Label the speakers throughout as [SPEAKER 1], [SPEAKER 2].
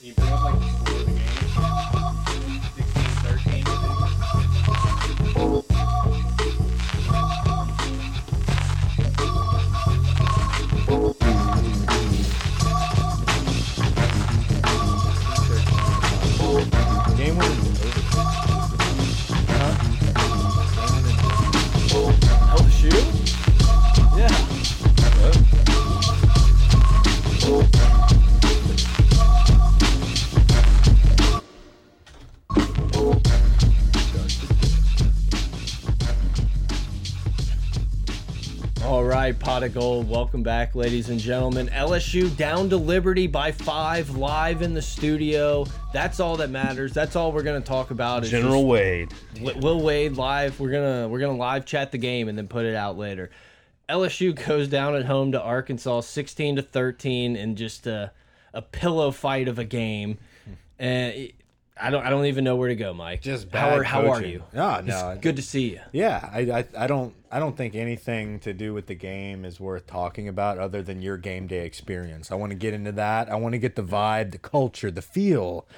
[SPEAKER 1] You bring up like four of the games, 16, 13.
[SPEAKER 2] Game winning. Huh? Oh, the shoe? Yeah. All right, pot of gold. Welcome back, ladies and gentlemen. LSU down to Liberty by five, live in the studio. That's all that matters. That's all we're gonna talk about. is just-
[SPEAKER 3] General Wade.
[SPEAKER 2] Wi- Will Wade live. We're gonna we're gonna live chat the game and then put it out later. LSU goes down at home to Arkansas, sixteen to thirteen, in just a a pillow fight of a game. And it- I don't I don't even know where to go, Mike.
[SPEAKER 1] Just
[SPEAKER 2] how
[SPEAKER 1] bad
[SPEAKER 2] are, how are
[SPEAKER 1] coaching. Ah,
[SPEAKER 2] you?
[SPEAKER 4] No,
[SPEAKER 2] It's
[SPEAKER 4] no.
[SPEAKER 2] good to see you.
[SPEAKER 4] Yeah, I, I I don't I don't think anything to do with the game is worth talking about other than your game day experience. I want to get into that. I want to get the vibe, the culture, the feel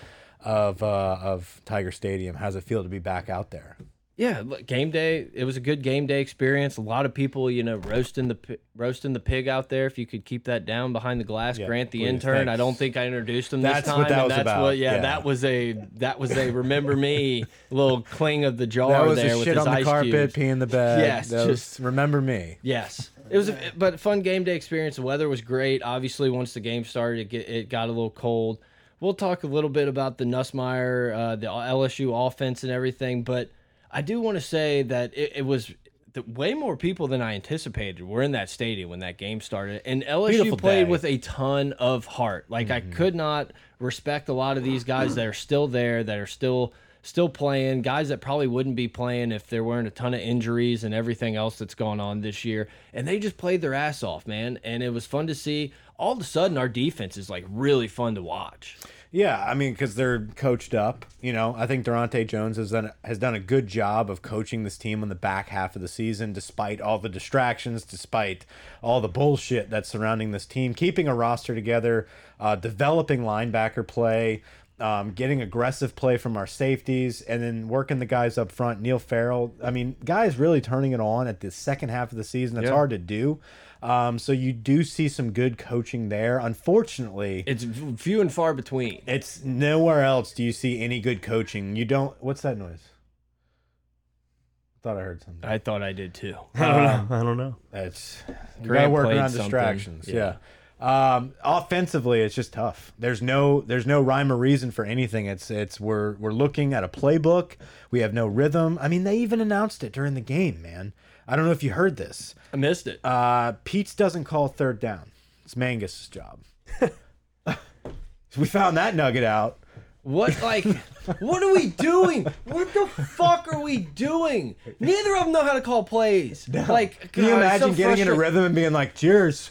[SPEAKER 4] of uh, of Tiger Stadium. How's it feel to be back out there?
[SPEAKER 2] Yeah, look, game day. It was a good game day experience. A lot of people, you know, roasting the pi- roasting the pig out there. If you could keep that down behind the glass, Grant the
[SPEAKER 4] please,
[SPEAKER 2] intern. I
[SPEAKER 4] thanks.
[SPEAKER 2] don't think I introduced him
[SPEAKER 4] That's
[SPEAKER 2] this
[SPEAKER 4] what
[SPEAKER 2] time.
[SPEAKER 4] that
[SPEAKER 2] and
[SPEAKER 4] was
[SPEAKER 2] that's
[SPEAKER 4] about,
[SPEAKER 2] What, yeah,
[SPEAKER 4] yeah.
[SPEAKER 2] that was a that was a remember me little cling of the jar
[SPEAKER 4] That was
[SPEAKER 2] there
[SPEAKER 4] a
[SPEAKER 2] with
[SPEAKER 4] shit
[SPEAKER 2] his
[SPEAKER 4] on the
[SPEAKER 2] ice
[SPEAKER 4] carpet,
[SPEAKER 2] cubes.
[SPEAKER 4] pee in the bed.
[SPEAKER 2] Yes,
[SPEAKER 4] That was-
[SPEAKER 2] just-
[SPEAKER 4] remember me.
[SPEAKER 2] Yes, it was, a, but fun game day experience. The weather was great. Obviously, once the game started, it, get, it got a little cold. We'll talk a little bit about the Nussmeyer, uh, the LSU offense, and everything. But I do want to say that it, it was the, way more people than I anticipated were in that stadium when that game started, and LSU
[SPEAKER 4] Beautiful
[SPEAKER 2] played
[SPEAKER 4] day.
[SPEAKER 2] with a ton of heart. Like I could not respect a lot of these guys that are still there, that are still still playing, guys that probably wouldn't be playing if there weren't a ton of injuries and everything else that's gone on this year. And they just played their ass off, man. And it was fun to see. All of a sudden, our defense is like really fun to watch.
[SPEAKER 4] Yeah, I mean, because they're coached up. You know, I think Durante Jones has done has done a good job of coaching this team on the back half of the season, despite all the distractions, despite all the bullshit that's surrounding this team, keeping a roster together, uh, developing linebacker play. Um, getting aggressive play from our safeties and then working the guys up front. Neil Farrell, I mean, guys really turning it on at the second half of the season. It's hard to do. Um, so you do see some good coaching there. Unfortunately,
[SPEAKER 2] It's few and far between.
[SPEAKER 4] it's nowhere else do you see any good coaching. You don't. What's that noise? Thought I heard something.
[SPEAKER 2] I thought I did too.
[SPEAKER 3] I don't know. I don't know.
[SPEAKER 4] It's you gotta
[SPEAKER 2] Grant
[SPEAKER 4] work
[SPEAKER 2] played
[SPEAKER 4] around
[SPEAKER 2] something.
[SPEAKER 4] distractions.
[SPEAKER 2] Yeah.
[SPEAKER 4] Yeah. Um, offensively, it's just tough. There's no there's no rhyme or reason for anything. It's it's we're we're looking at a playbook. We have no rhythm. I mean, they even announced it during the game, man. I don't know if you heard this.
[SPEAKER 2] I missed it.
[SPEAKER 4] Uh, Pete's doesn't call third down. It's Mangus's job. we found that nugget out.
[SPEAKER 2] What like what are we doing? What the fuck are we doing? Neither of them know how to call plays. Like
[SPEAKER 4] Can you
[SPEAKER 2] God, it's so
[SPEAKER 4] imagine getting in a
[SPEAKER 2] frustra-
[SPEAKER 4] rhythm and being like, "Cheers"?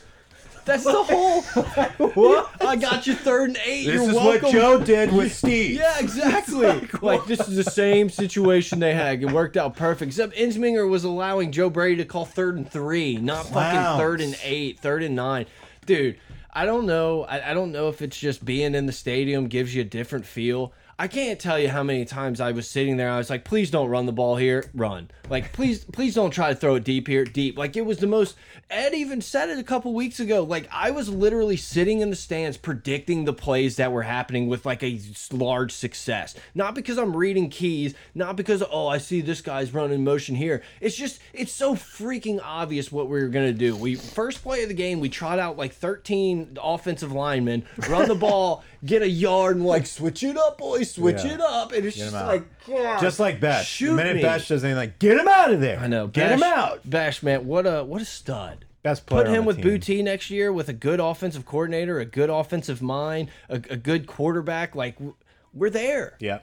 [SPEAKER 2] That's the whole I got you third and eight.
[SPEAKER 4] This
[SPEAKER 2] You're
[SPEAKER 4] is
[SPEAKER 2] welcome.
[SPEAKER 4] what Joe did with Steve.
[SPEAKER 2] yeah, exactly. Like, this is the same situation they had. It worked out perfect. Except Insminger was allowing Joe Brady to call third and three, not fucking
[SPEAKER 4] Clowns.
[SPEAKER 2] third and eight, third and nine. Dude, I don't know. I, I don't know if it's just being in the stadium gives you a different feel. I can't tell you how many times I was sitting there. I was like, please don't run the ball here. Run. Like, please, please don't try to throw it deep here. Deep. Like, it was the most. Ed even said it a couple weeks ago. Like, I was literally sitting in the stands predicting the plays that were happening with like a large success. Not because I'm reading keys, not because, oh, I see this guy's running motion here. It's just, it's so freaking obvious what we were going to do. We, first play of the game, we trot out like 13 offensive linemen, run the ball, get a yard, and like, switch it up, boys, switch
[SPEAKER 4] Yeah.
[SPEAKER 2] it up. And it's just
[SPEAKER 4] him out.
[SPEAKER 2] like, God.
[SPEAKER 4] Just like Bash.
[SPEAKER 2] Shoot
[SPEAKER 4] the minute
[SPEAKER 2] me.
[SPEAKER 4] Bash does anything, like, get him out of there.
[SPEAKER 2] I know.
[SPEAKER 4] Get him out.
[SPEAKER 2] Bash, man, what a what a stud.
[SPEAKER 4] Best player
[SPEAKER 2] Put
[SPEAKER 4] on
[SPEAKER 2] him
[SPEAKER 4] the
[SPEAKER 2] with
[SPEAKER 4] team.
[SPEAKER 2] Boutte next year with a good offensive coordinator, a good offensive mind, a, a good quarterback. Like w- we're there.
[SPEAKER 4] Yeah.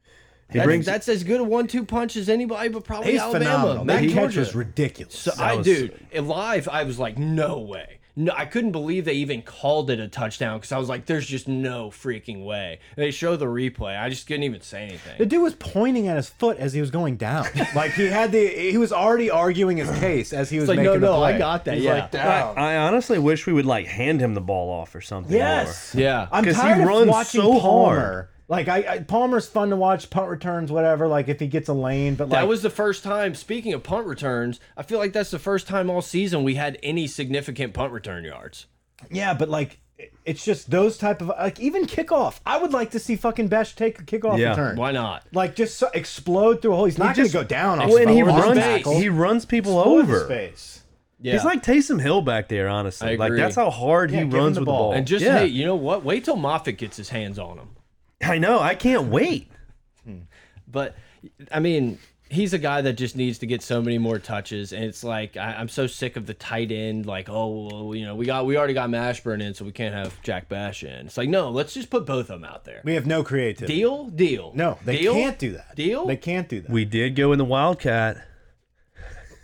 [SPEAKER 3] He
[SPEAKER 2] That's,
[SPEAKER 3] brings.
[SPEAKER 2] that's as good a one-two punch as anybody, but probably
[SPEAKER 4] He's
[SPEAKER 2] Alabama.
[SPEAKER 4] phenomenal.
[SPEAKER 2] Matt
[SPEAKER 4] That catch
[SPEAKER 2] Georgia.
[SPEAKER 4] was ridiculous.
[SPEAKER 2] So I, dude, live, I was like, no way. no, I couldn't believe they even called it a touchdown because I was like, there's just no freaking way. And they show the replay. I just couldn't even say anything.
[SPEAKER 4] The dude was pointing at his foot as he was going down. Like he had the, he was already arguing his case as he was
[SPEAKER 2] like,
[SPEAKER 4] making
[SPEAKER 2] no,
[SPEAKER 4] the
[SPEAKER 2] no, I
[SPEAKER 4] play.
[SPEAKER 2] got that,
[SPEAKER 4] He's
[SPEAKER 2] yeah.
[SPEAKER 4] like, down.
[SPEAKER 3] I, I honestly wish we would like hand him the ball off or something.
[SPEAKER 4] Yes.
[SPEAKER 3] more.
[SPEAKER 2] Yeah.
[SPEAKER 4] I'm
[SPEAKER 3] 'Cause he
[SPEAKER 4] tired
[SPEAKER 3] runs
[SPEAKER 4] of watching
[SPEAKER 3] so
[SPEAKER 4] Palmer.
[SPEAKER 3] hard.
[SPEAKER 4] Like I, I Palmer's fun to watch. Punt returns, whatever. Like if he gets a lane, but like
[SPEAKER 2] that was the first time. Speaking of punt returns, I feel like that's the first time all season we had any significant punt return yards.
[SPEAKER 4] yeah, but like it- it's just those type of like even kickoff. I would like to see fucking Besh take a kickoff
[SPEAKER 3] Yeah.
[SPEAKER 4] return.
[SPEAKER 2] Why not?
[SPEAKER 4] Like just so, explode through a hole. He's not going
[SPEAKER 3] just-
[SPEAKER 4] to go down. off
[SPEAKER 3] Well, and he
[SPEAKER 4] his
[SPEAKER 2] Over the
[SPEAKER 3] runs.
[SPEAKER 2] tackle.
[SPEAKER 3] He runs people
[SPEAKER 4] Over the
[SPEAKER 3] over.
[SPEAKER 4] space.
[SPEAKER 2] Yeah.
[SPEAKER 3] He's like Taysom Hill back there. Honestly,
[SPEAKER 2] I
[SPEAKER 3] like
[SPEAKER 2] agree.
[SPEAKER 3] that's how hard
[SPEAKER 4] Yeah,
[SPEAKER 3] he
[SPEAKER 4] give him
[SPEAKER 3] runs
[SPEAKER 4] the
[SPEAKER 3] with
[SPEAKER 4] ball.
[SPEAKER 3] the ball.
[SPEAKER 2] and just
[SPEAKER 3] yeah.
[SPEAKER 2] hey, you know what? Wait till Moffitt gets his hands on him.
[SPEAKER 3] I know. I can't wait.
[SPEAKER 2] But I mean, he's a guy that just needs to get so many more touches, and it's like I, I'm so sick of the tight end. Like, oh, well, you know, we got we already got Mashburn in, so we can't have Jack Bash in. It's like, no, let's just put both of them out there.
[SPEAKER 4] We have no creativity.
[SPEAKER 2] Deal, deal.
[SPEAKER 4] No, they
[SPEAKER 2] Deal?
[SPEAKER 4] can't do that.
[SPEAKER 2] Deal.
[SPEAKER 4] They can't do that.
[SPEAKER 3] We did go in the Wildcat.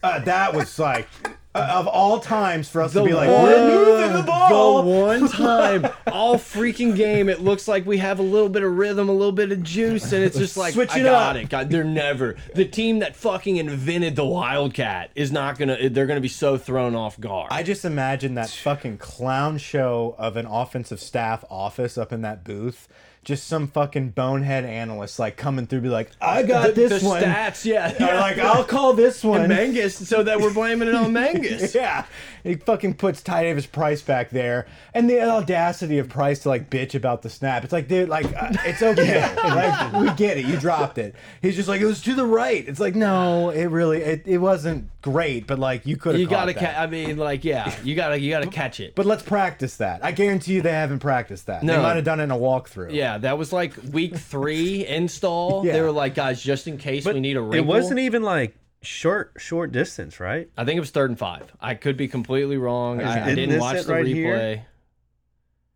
[SPEAKER 4] Uh, that was like uh, of all times for us
[SPEAKER 2] The
[SPEAKER 4] to be like,
[SPEAKER 2] one-
[SPEAKER 4] we're moving the
[SPEAKER 2] Uh, The
[SPEAKER 4] ball.
[SPEAKER 2] one time, all freaking game, it looks like we have a little bit of rhythm, a little bit of juice, and it's just like
[SPEAKER 4] Switch
[SPEAKER 2] I
[SPEAKER 4] it
[SPEAKER 2] got
[SPEAKER 4] up.
[SPEAKER 2] it. God, they're never the team that fucking invented the Wildcat is not gonna. They're gonna be so thrown off guard.
[SPEAKER 4] I just imagine that fucking clown show of an offensive staff office up in that booth. Just some fucking bonehead analyst like coming through, be like, I got
[SPEAKER 2] The-
[SPEAKER 4] this
[SPEAKER 2] the
[SPEAKER 4] one.
[SPEAKER 2] stats, yeah,
[SPEAKER 4] Or like, I'll call this one.
[SPEAKER 2] and Mangus, "Oh, so that we're blaming it on Mangus.
[SPEAKER 4] Yeah, he fucking puts Ty Davis Price back there, and the audacity of Price to like bitch about the snap. It's like, dude, like uh, it's okay, like we get it. You dropped it. He's just like, it was to the right. It's like, no, it really, it, it wasn't great, but like you could have.
[SPEAKER 2] You gotta,
[SPEAKER 4] that.
[SPEAKER 2] ca- I mean, like, yeah, you gotta, you gotta catch it.
[SPEAKER 4] But let's practice that. I guarantee you, they haven't practiced that.
[SPEAKER 2] No.
[SPEAKER 4] They might have done it in a walkthrough.
[SPEAKER 2] yeah, that was like week three install. They
[SPEAKER 4] Yeah.
[SPEAKER 2] were like, guys, just in case we need a
[SPEAKER 3] it
[SPEAKER 2] wrinkle.
[SPEAKER 3] wasn't even like short, short distance, right?
[SPEAKER 2] I think it was third and five. I could be completely wrong. I, I
[SPEAKER 3] Isn't
[SPEAKER 2] didn't
[SPEAKER 3] this
[SPEAKER 2] watch
[SPEAKER 3] it
[SPEAKER 2] the
[SPEAKER 3] right
[SPEAKER 2] replay.
[SPEAKER 3] here?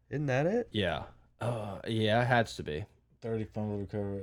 [SPEAKER 3] Isn't that it?
[SPEAKER 2] Yeah. Uh, yeah, it has to be.
[SPEAKER 4] thirty fumble recover.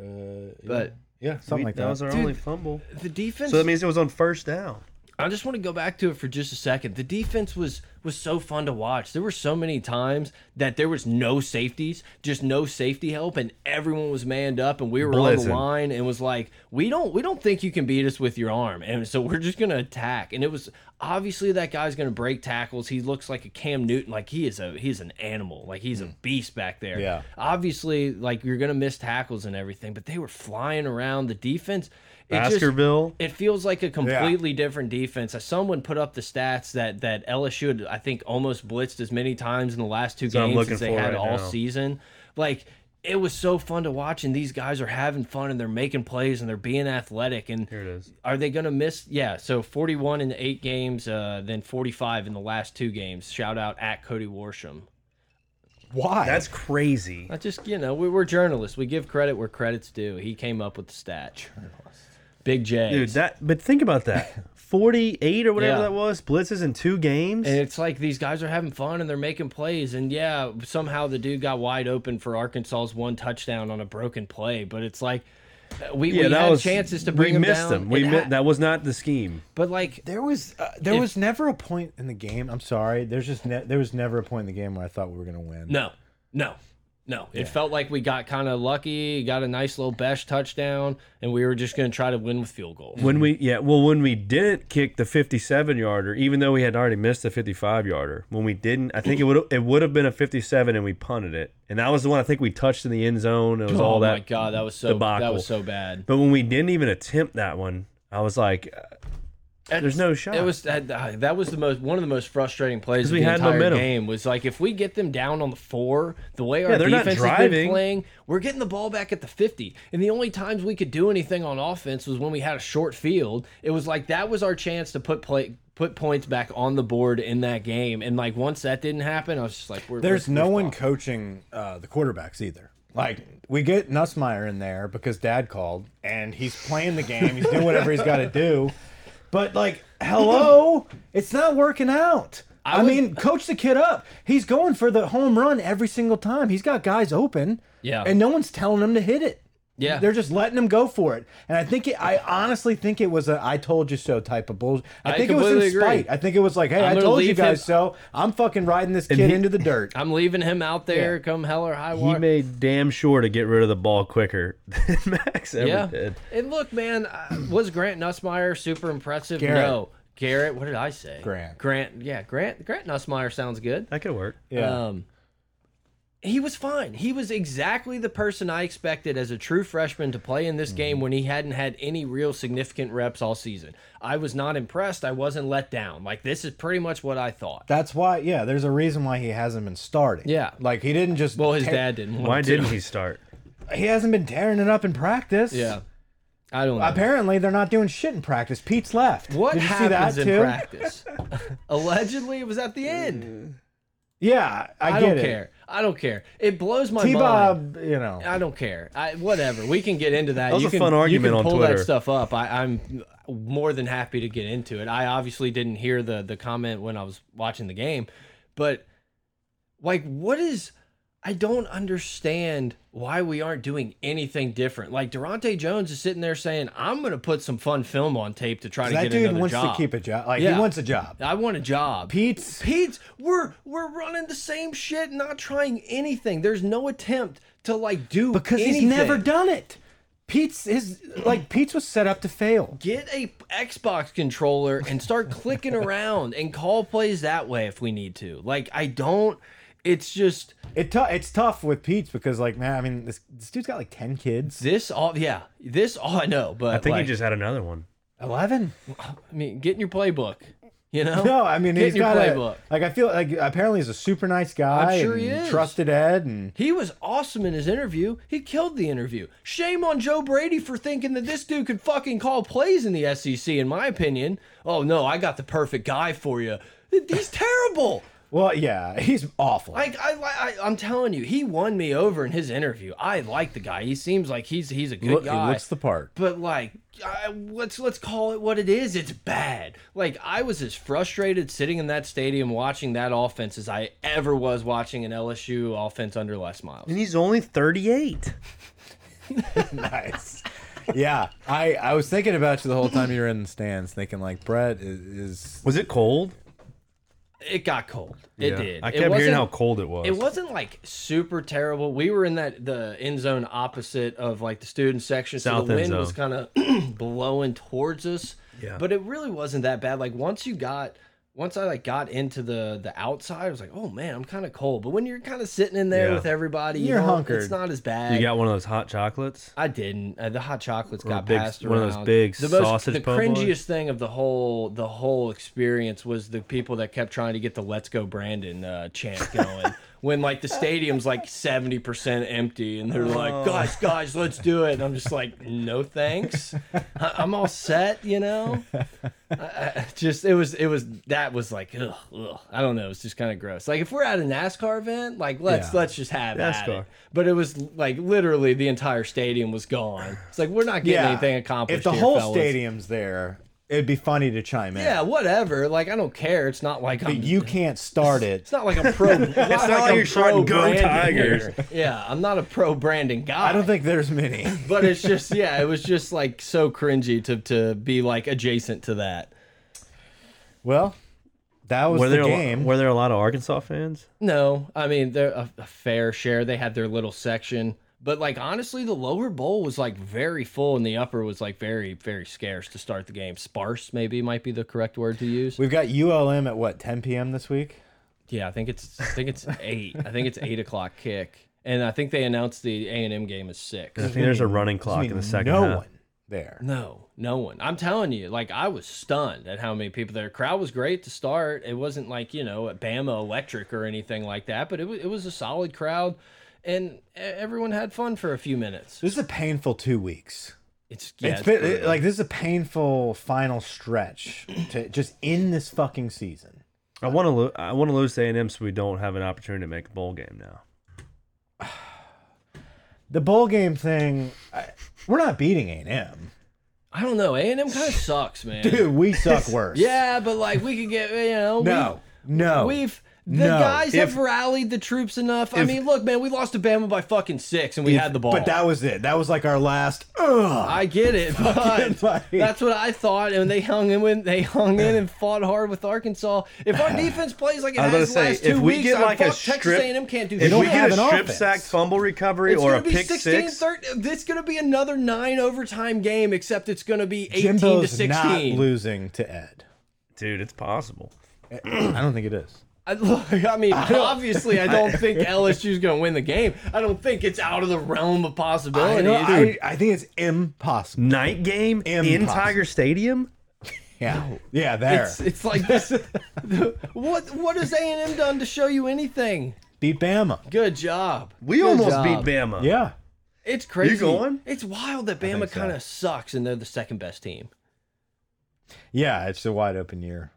[SPEAKER 4] Uh,
[SPEAKER 2] But
[SPEAKER 4] yeah, something
[SPEAKER 3] We-
[SPEAKER 4] like
[SPEAKER 3] that,
[SPEAKER 4] that.
[SPEAKER 3] was our only fumble.
[SPEAKER 2] the defense.
[SPEAKER 3] So that means it was on first down.
[SPEAKER 2] I just want to go back to it for just a second. The defense was was so fun to watch. There were so many times that there was no safeties, just no safety help, and everyone was manned up, and we were on
[SPEAKER 3] Blitzing.
[SPEAKER 2] the line, and was like, we don't we don't think you can beat us with your arm, and so we're just gonna attack. And it was obviously that guy's gonna break tackles. He looks like a Cam Newton, like he is a he's an animal, like he's a beast back there.
[SPEAKER 4] Yeah.
[SPEAKER 2] Obviously, like you're gonna miss tackles and everything, but they were flying around. The defense. it just-
[SPEAKER 3] Baskerville.
[SPEAKER 2] it feels like a completely different defense. Uh, Someone put up the stats that that LSU had, I think, almost blitzed as many times in the last two
[SPEAKER 3] what I'm
[SPEAKER 2] games
[SPEAKER 3] looking
[SPEAKER 2] as they
[SPEAKER 3] for
[SPEAKER 2] had
[SPEAKER 3] right
[SPEAKER 2] all
[SPEAKER 3] now.
[SPEAKER 2] season. Like it was so fun to watch, and these guys are having fun and they're making plays and they're being athletic. And
[SPEAKER 3] Here it is.
[SPEAKER 2] Are they going to miss? Yeah, so 41 in the eight games, uh, then 45 in the last two games. Shout out at Cody Warsham.
[SPEAKER 4] why?
[SPEAKER 3] That's crazy.
[SPEAKER 2] I just, you know, we, we're journalists. We give credit where credit's due. He came up with the stat. Big J.
[SPEAKER 3] Dude, that but think about that. 48 or whatever
[SPEAKER 2] Yeah.
[SPEAKER 3] that was, blitzes in two games.
[SPEAKER 2] And it's like these guys are having fun and they're making plays. And yeah, somehow the dude got wide open for Arkansas's one touchdown on a broken play. But it's like uh, we, we had chances to bring
[SPEAKER 3] we
[SPEAKER 2] him
[SPEAKER 3] missed
[SPEAKER 2] down.
[SPEAKER 3] him. We
[SPEAKER 2] It
[SPEAKER 3] mi-
[SPEAKER 2] ha-
[SPEAKER 3] that was not the scheme.
[SPEAKER 2] But like,
[SPEAKER 4] There was uh, there was never a point in the game. I'm sorry. There's just ne there was never a point in the game where I thought we were gonna win.
[SPEAKER 2] no, no, no. It felt like we got kind of lucky, got a nice little Besh touchdown, and we were just going to try to win with field goal.
[SPEAKER 3] When we yeah, well when we didn't kick the 57 yarder, even though we had already missed the 55 yarder, when we didn't, I think it would it would have been a 57 and we punted it. And that was the one I think we touched in the end zone. It was
[SPEAKER 2] oh
[SPEAKER 3] all that
[SPEAKER 2] my god, that was so
[SPEAKER 3] debacle.
[SPEAKER 2] that was so bad.
[SPEAKER 3] But when we didn't even attempt that one, I was like, uh, there's no shot.
[SPEAKER 2] It was that, that was the most one of the most frustrating plays of
[SPEAKER 3] we
[SPEAKER 2] the
[SPEAKER 3] had
[SPEAKER 2] entire
[SPEAKER 3] momentum.
[SPEAKER 2] game was like if we get them down on the four, the way our
[SPEAKER 3] they're not
[SPEAKER 2] defense has been
[SPEAKER 3] driving.
[SPEAKER 2] playing, we're getting the ball back at the fifty. And the only times we could do anything on offense was when we had a short field. It was like that was our chance to put play put points back on the board in that game. And like once that didn't happen, I was just like, we're,
[SPEAKER 4] There's
[SPEAKER 2] we're-
[SPEAKER 4] no
[SPEAKER 2] we're
[SPEAKER 4] one
[SPEAKER 2] fucked.
[SPEAKER 4] coaching uh, the quarterbacks either. Like we get Nussmeyer in there because Dad called and he's playing the game. He's doing whatever he's got to do. But like, hello, it's not working out. I,
[SPEAKER 2] would-
[SPEAKER 4] mean, coach the kid up. He's going for the home run every single time. He's got guys open.
[SPEAKER 2] Yeah.
[SPEAKER 4] and no one's telling him to hit it.
[SPEAKER 2] Yeah.
[SPEAKER 4] They're just letting him go for it. And I think it, I honestly think it was a I told you so type of bullshit. I,
[SPEAKER 2] I
[SPEAKER 4] think it was in
[SPEAKER 2] completely agree.
[SPEAKER 4] spite. I think it was like, hey,
[SPEAKER 2] I'm
[SPEAKER 4] i
[SPEAKER 2] gonna
[SPEAKER 4] told you
[SPEAKER 2] leave him-
[SPEAKER 4] guys so. I'm fucking riding this kid
[SPEAKER 3] he-
[SPEAKER 4] into the dirt.
[SPEAKER 2] I'm leaving him out there,
[SPEAKER 4] Yeah.
[SPEAKER 2] come hell or high
[SPEAKER 3] He
[SPEAKER 2] water.
[SPEAKER 3] made damn sure to get rid of the ball quicker than Max ever
[SPEAKER 2] yeah.
[SPEAKER 3] did.
[SPEAKER 2] And look, man, uh, was Grant Nussmeyer super impressive?
[SPEAKER 4] Garrett.
[SPEAKER 2] No. Garrett, what did I say?
[SPEAKER 4] Grant.
[SPEAKER 2] Grant, yeah, Grant Grant Nussmeyer sounds good.
[SPEAKER 3] That could work.
[SPEAKER 4] Yeah.
[SPEAKER 2] Um, he was fine. He was exactly the person I expected as a true freshman to play in this
[SPEAKER 4] Mm-hmm.
[SPEAKER 2] game when he hadn't had any real significant reps all season. I was not impressed. I wasn't let down. Like this is pretty much what I thought.
[SPEAKER 4] That's why, yeah, there's a reason why he hasn't been starting.
[SPEAKER 2] Yeah.
[SPEAKER 4] Like he didn't just
[SPEAKER 2] Well, his
[SPEAKER 4] tear-
[SPEAKER 2] dad didn't. Want
[SPEAKER 3] Why
[SPEAKER 2] him to.
[SPEAKER 3] didn't he start?
[SPEAKER 4] he hasn't been tearing it up in practice.
[SPEAKER 2] Yeah, I don't know.
[SPEAKER 4] Apparently they're not doing shit in practice. Pete's left.
[SPEAKER 2] what
[SPEAKER 4] Did you see
[SPEAKER 2] happens
[SPEAKER 4] that
[SPEAKER 2] in
[SPEAKER 4] too?
[SPEAKER 2] practice? Allegedly, it was at the end.
[SPEAKER 4] Yeah, I, get
[SPEAKER 2] I, don't
[SPEAKER 4] it.
[SPEAKER 2] care. I don't care. It blows my
[SPEAKER 4] T
[SPEAKER 2] mind.
[SPEAKER 4] Bob, you know.
[SPEAKER 2] I don't care. I, whatever. We can get into that.
[SPEAKER 3] That was
[SPEAKER 2] you
[SPEAKER 3] a
[SPEAKER 2] can,
[SPEAKER 3] fun
[SPEAKER 2] you
[SPEAKER 3] argument
[SPEAKER 2] can
[SPEAKER 3] on
[SPEAKER 2] pull that
[SPEAKER 3] Twitter.
[SPEAKER 2] stuff up. I, I'm more than happy to get into it. I obviously didn't hear the the comment when I was watching the game, but like, what is? I don't understand why we aren't doing anything different. Like Durante Jones is sitting there saying, "I'm going to put some fun film on tape to try to
[SPEAKER 4] That
[SPEAKER 2] get
[SPEAKER 4] dude
[SPEAKER 2] another
[SPEAKER 4] wants
[SPEAKER 2] job.
[SPEAKER 4] to keep a job. Like
[SPEAKER 2] Yeah.
[SPEAKER 4] he wants a job.
[SPEAKER 2] I want a job."
[SPEAKER 4] Pete's
[SPEAKER 2] Pete's we're we're running the same shit, not trying anything. There's no attempt to like do
[SPEAKER 4] because
[SPEAKER 2] anything.
[SPEAKER 4] he's never done it. Pete's his like Pete's was set up to fail.
[SPEAKER 2] get a Xbox controller and start clicking around and call plays that way if we need to. Like I don't. It's just
[SPEAKER 4] It tou- it's tough with Pete's because like man, I mean this, this dude's got like ten kids,
[SPEAKER 2] this all. Yeah, this all I know. But
[SPEAKER 3] I think
[SPEAKER 2] like,
[SPEAKER 3] he just had another one.
[SPEAKER 4] eleven.
[SPEAKER 2] I mean, get in your playbook. You know.
[SPEAKER 4] No, I mean
[SPEAKER 2] get
[SPEAKER 4] he's
[SPEAKER 2] in your
[SPEAKER 4] got
[SPEAKER 2] playbook.
[SPEAKER 4] a, like I feel like apparently he's a super nice guy.
[SPEAKER 2] I'm sure
[SPEAKER 4] and
[SPEAKER 2] he is.
[SPEAKER 4] Trusted Ed and
[SPEAKER 2] He was awesome in his interview. He killed the interview. Shame on Joe Brady for thinking that this dude could fucking call plays in the SEC, in my opinion. Oh, no, I got the perfect guy for you. He's terrible.
[SPEAKER 4] well, yeah, he's awful.
[SPEAKER 2] Like, I, I, I, I'm telling you, he won me over in his interview. I like the guy. He seems like he's he's a good
[SPEAKER 4] Look, he
[SPEAKER 2] guy.
[SPEAKER 4] looks the part.
[SPEAKER 2] but like, I, let's let's call it what it is. It's bad. Like, I was as frustrated sitting in that stadium watching that offense as I ever was watching an LSU offense under Les Miles.
[SPEAKER 3] And he's only 38.
[SPEAKER 4] nice. Yeah, I I was thinking about you the whole time you were in the stands, thinking like Brett is, is
[SPEAKER 3] Was it cold?
[SPEAKER 2] it got cold. It did.
[SPEAKER 3] I
[SPEAKER 2] it
[SPEAKER 3] kept hearing
[SPEAKER 2] wasn't-
[SPEAKER 3] how cold it was.
[SPEAKER 2] It wasn't like super terrible. We were in that the end zone opposite of like the student section, so
[SPEAKER 3] South
[SPEAKER 2] the
[SPEAKER 3] end
[SPEAKER 2] wind
[SPEAKER 3] zone.
[SPEAKER 2] was kind of blowing towards us.
[SPEAKER 3] Yeah.
[SPEAKER 2] But it really wasn't that bad. Like once you got once I like got into the the outside, I was like, oh man, I'm kind of cold. But when you're kind of sitting in there
[SPEAKER 3] Yeah.
[SPEAKER 2] with everybody, you
[SPEAKER 4] You're
[SPEAKER 2] know,
[SPEAKER 4] hunkered.
[SPEAKER 2] It's not as bad.
[SPEAKER 3] You got one of those hot chocolates?
[SPEAKER 2] I didn't. Uh, the hot chocolates got
[SPEAKER 3] big-
[SPEAKER 2] passed
[SPEAKER 3] one of those
[SPEAKER 2] around.
[SPEAKER 3] big
[SPEAKER 2] the most,
[SPEAKER 3] sausage
[SPEAKER 2] The
[SPEAKER 3] po' boys?
[SPEAKER 2] cringiest thing of the whole the whole experience was the people that kept trying to get the "Let's Go Brandon" uh, chant going when like the stadium's like seventy percent empty and they're
[SPEAKER 3] Oh.
[SPEAKER 2] like, "Guys, guys, let's do it." And I'm just like, "No thanks, I I'm all set," you know. I, I just it was it was that was like ugh, ugh. I don't know. It's just kind of gross. Like if we're at a NASCAR event, like let's
[SPEAKER 4] Yeah.
[SPEAKER 2] let's just have at
[SPEAKER 3] NASCAR.
[SPEAKER 2] it. But it was like literally the entire stadium was gone. It's like we're not getting
[SPEAKER 4] yeah.
[SPEAKER 2] anything accomplished.
[SPEAKER 4] If the
[SPEAKER 2] here,
[SPEAKER 4] whole
[SPEAKER 2] fellas.
[SPEAKER 4] stadium's there, it'd be funny to chime in.
[SPEAKER 2] yeah, whatever. Like I don't care. It's not like
[SPEAKER 4] but
[SPEAKER 2] I'm.
[SPEAKER 4] you can't start it.
[SPEAKER 2] it's not like I'm pro. it's not,
[SPEAKER 3] like
[SPEAKER 2] I'm
[SPEAKER 3] you're
[SPEAKER 2] pro
[SPEAKER 3] shouting, "Go
[SPEAKER 2] Brandon
[SPEAKER 3] Tigers."
[SPEAKER 2] here. Yeah, I'm not a pro Brandon guy.
[SPEAKER 4] I don't think there's many.
[SPEAKER 2] But it's just yeah, it was just like so cringy to to be like adjacent to that.
[SPEAKER 4] Well, that was
[SPEAKER 3] Were
[SPEAKER 4] the
[SPEAKER 3] there, a lo-
[SPEAKER 4] game.
[SPEAKER 3] were there a lot of Arkansas fans?
[SPEAKER 2] No, I mean they're a, a fair share. They had their little section, but like honestly, the lower bowl was like very full, and the upper was like very very scarce to start the game. Sparse maybe might be the correct word to use.
[SPEAKER 4] We've got ULM at what 10 p.m. this week.
[SPEAKER 2] Yeah, I think it's I think it's eight. I think it's eight o'clock kick, and I think they announced the A and M game is six.
[SPEAKER 3] I think there's a running clock
[SPEAKER 4] I
[SPEAKER 3] in
[SPEAKER 4] mean,
[SPEAKER 3] the second
[SPEAKER 4] no
[SPEAKER 3] half.
[SPEAKER 4] one there.
[SPEAKER 2] No, no one. I'm telling you, like I was stunned at how many people there. Crowd was great to start. It wasn't like you know at Bama electric or anything like that, but it was it was a solid crowd, and e- everyone had fun for a few minutes.
[SPEAKER 4] This is a painful two weeks.
[SPEAKER 2] It's yeah,
[SPEAKER 4] it's
[SPEAKER 2] it's
[SPEAKER 4] been
[SPEAKER 2] brutal.
[SPEAKER 4] like this is a painful final stretch to just end this fucking season.
[SPEAKER 3] I want to lo- I want to lose to A&M so we don't have an opportunity to make a bowl game now.
[SPEAKER 4] The bowl game thing, I, we're not beating A and M,
[SPEAKER 2] I don't know. A and M kind of sucks, man.
[SPEAKER 4] dude. We suck worse.
[SPEAKER 2] Yeah, but like we could get you know.
[SPEAKER 4] No. No.
[SPEAKER 2] We've, we've The
[SPEAKER 4] No.
[SPEAKER 2] guys have
[SPEAKER 4] If-
[SPEAKER 2] rallied the troops enough. I mean, look, man, we lost to Bama by fucking six, and we had the ball.
[SPEAKER 4] But that was it. That was like our last. Ugh.
[SPEAKER 2] I get it, but
[SPEAKER 4] like-
[SPEAKER 2] that's what I thought. And they hung in, when they hung in and fought hard with Arkansas. If our defense plays like it
[SPEAKER 3] I was
[SPEAKER 2] has the
[SPEAKER 3] gonna
[SPEAKER 2] last
[SPEAKER 3] say
[SPEAKER 2] two
[SPEAKER 3] if we
[SPEAKER 2] weeks,
[SPEAKER 3] get
[SPEAKER 2] I'm
[SPEAKER 3] like a
[SPEAKER 2] fucked. Texas
[SPEAKER 3] strip,
[SPEAKER 2] A&M can't do.
[SPEAKER 3] if
[SPEAKER 2] shit.
[SPEAKER 3] we
[SPEAKER 4] have
[SPEAKER 3] get a
[SPEAKER 4] an
[SPEAKER 3] strip
[SPEAKER 4] offense.
[SPEAKER 3] sack fumble recovery
[SPEAKER 2] It's
[SPEAKER 3] or
[SPEAKER 2] going
[SPEAKER 3] a
[SPEAKER 2] to be
[SPEAKER 3] pick
[SPEAKER 2] 16
[SPEAKER 3] six,
[SPEAKER 2] 13. This going to be another nine overtime game, except it's going to be 18
[SPEAKER 4] Jimbo's
[SPEAKER 2] to
[SPEAKER 4] not
[SPEAKER 2] 16.
[SPEAKER 4] losing to Ed.
[SPEAKER 3] dude, it's possible.
[SPEAKER 4] I don't think it is.
[SPEAKER 2] I, look, I mean, obviously, I don't think LSU's going to win the game. I don't think it's out of the realm of
[SPEAKER 4] I,
[SPEAKER 2] possibility.
[SPEAKER 4] know,
[SPEAKER 2] It's-
[SPEAKER 4] I, I think it's impossible.
[SPEAKER 3] Night game in
[SPEAKER 4] Impossible.
[SPEAKER 3] Tiger Stadium.
[SPEAKER 4] Yeah, yeah, there.
[SPEAKER 2] it's, it's like this. what what has A and M done to show you anything?
[SPEAKER 4] Beat Bama.
[SPEAKER 2] Good job.
[SPEAKER 3] We
[SPEAKER 2] Good
[SPEAKER 3] almost
[SPEAKER 2] job.
[SPEAKER 3] beat Bama.
[SPEAKER 4] Yeah,
[SPEAKER 2] It's crazy.
[SPEAKER 3] going?
[SPEAKER 2] It's wild that Bama
[SPEAKER 4] think so.
[SPEAKER 2] kind of sucks and they're the second best team.
[SPEAKER 4] yeah. It's a wide open year.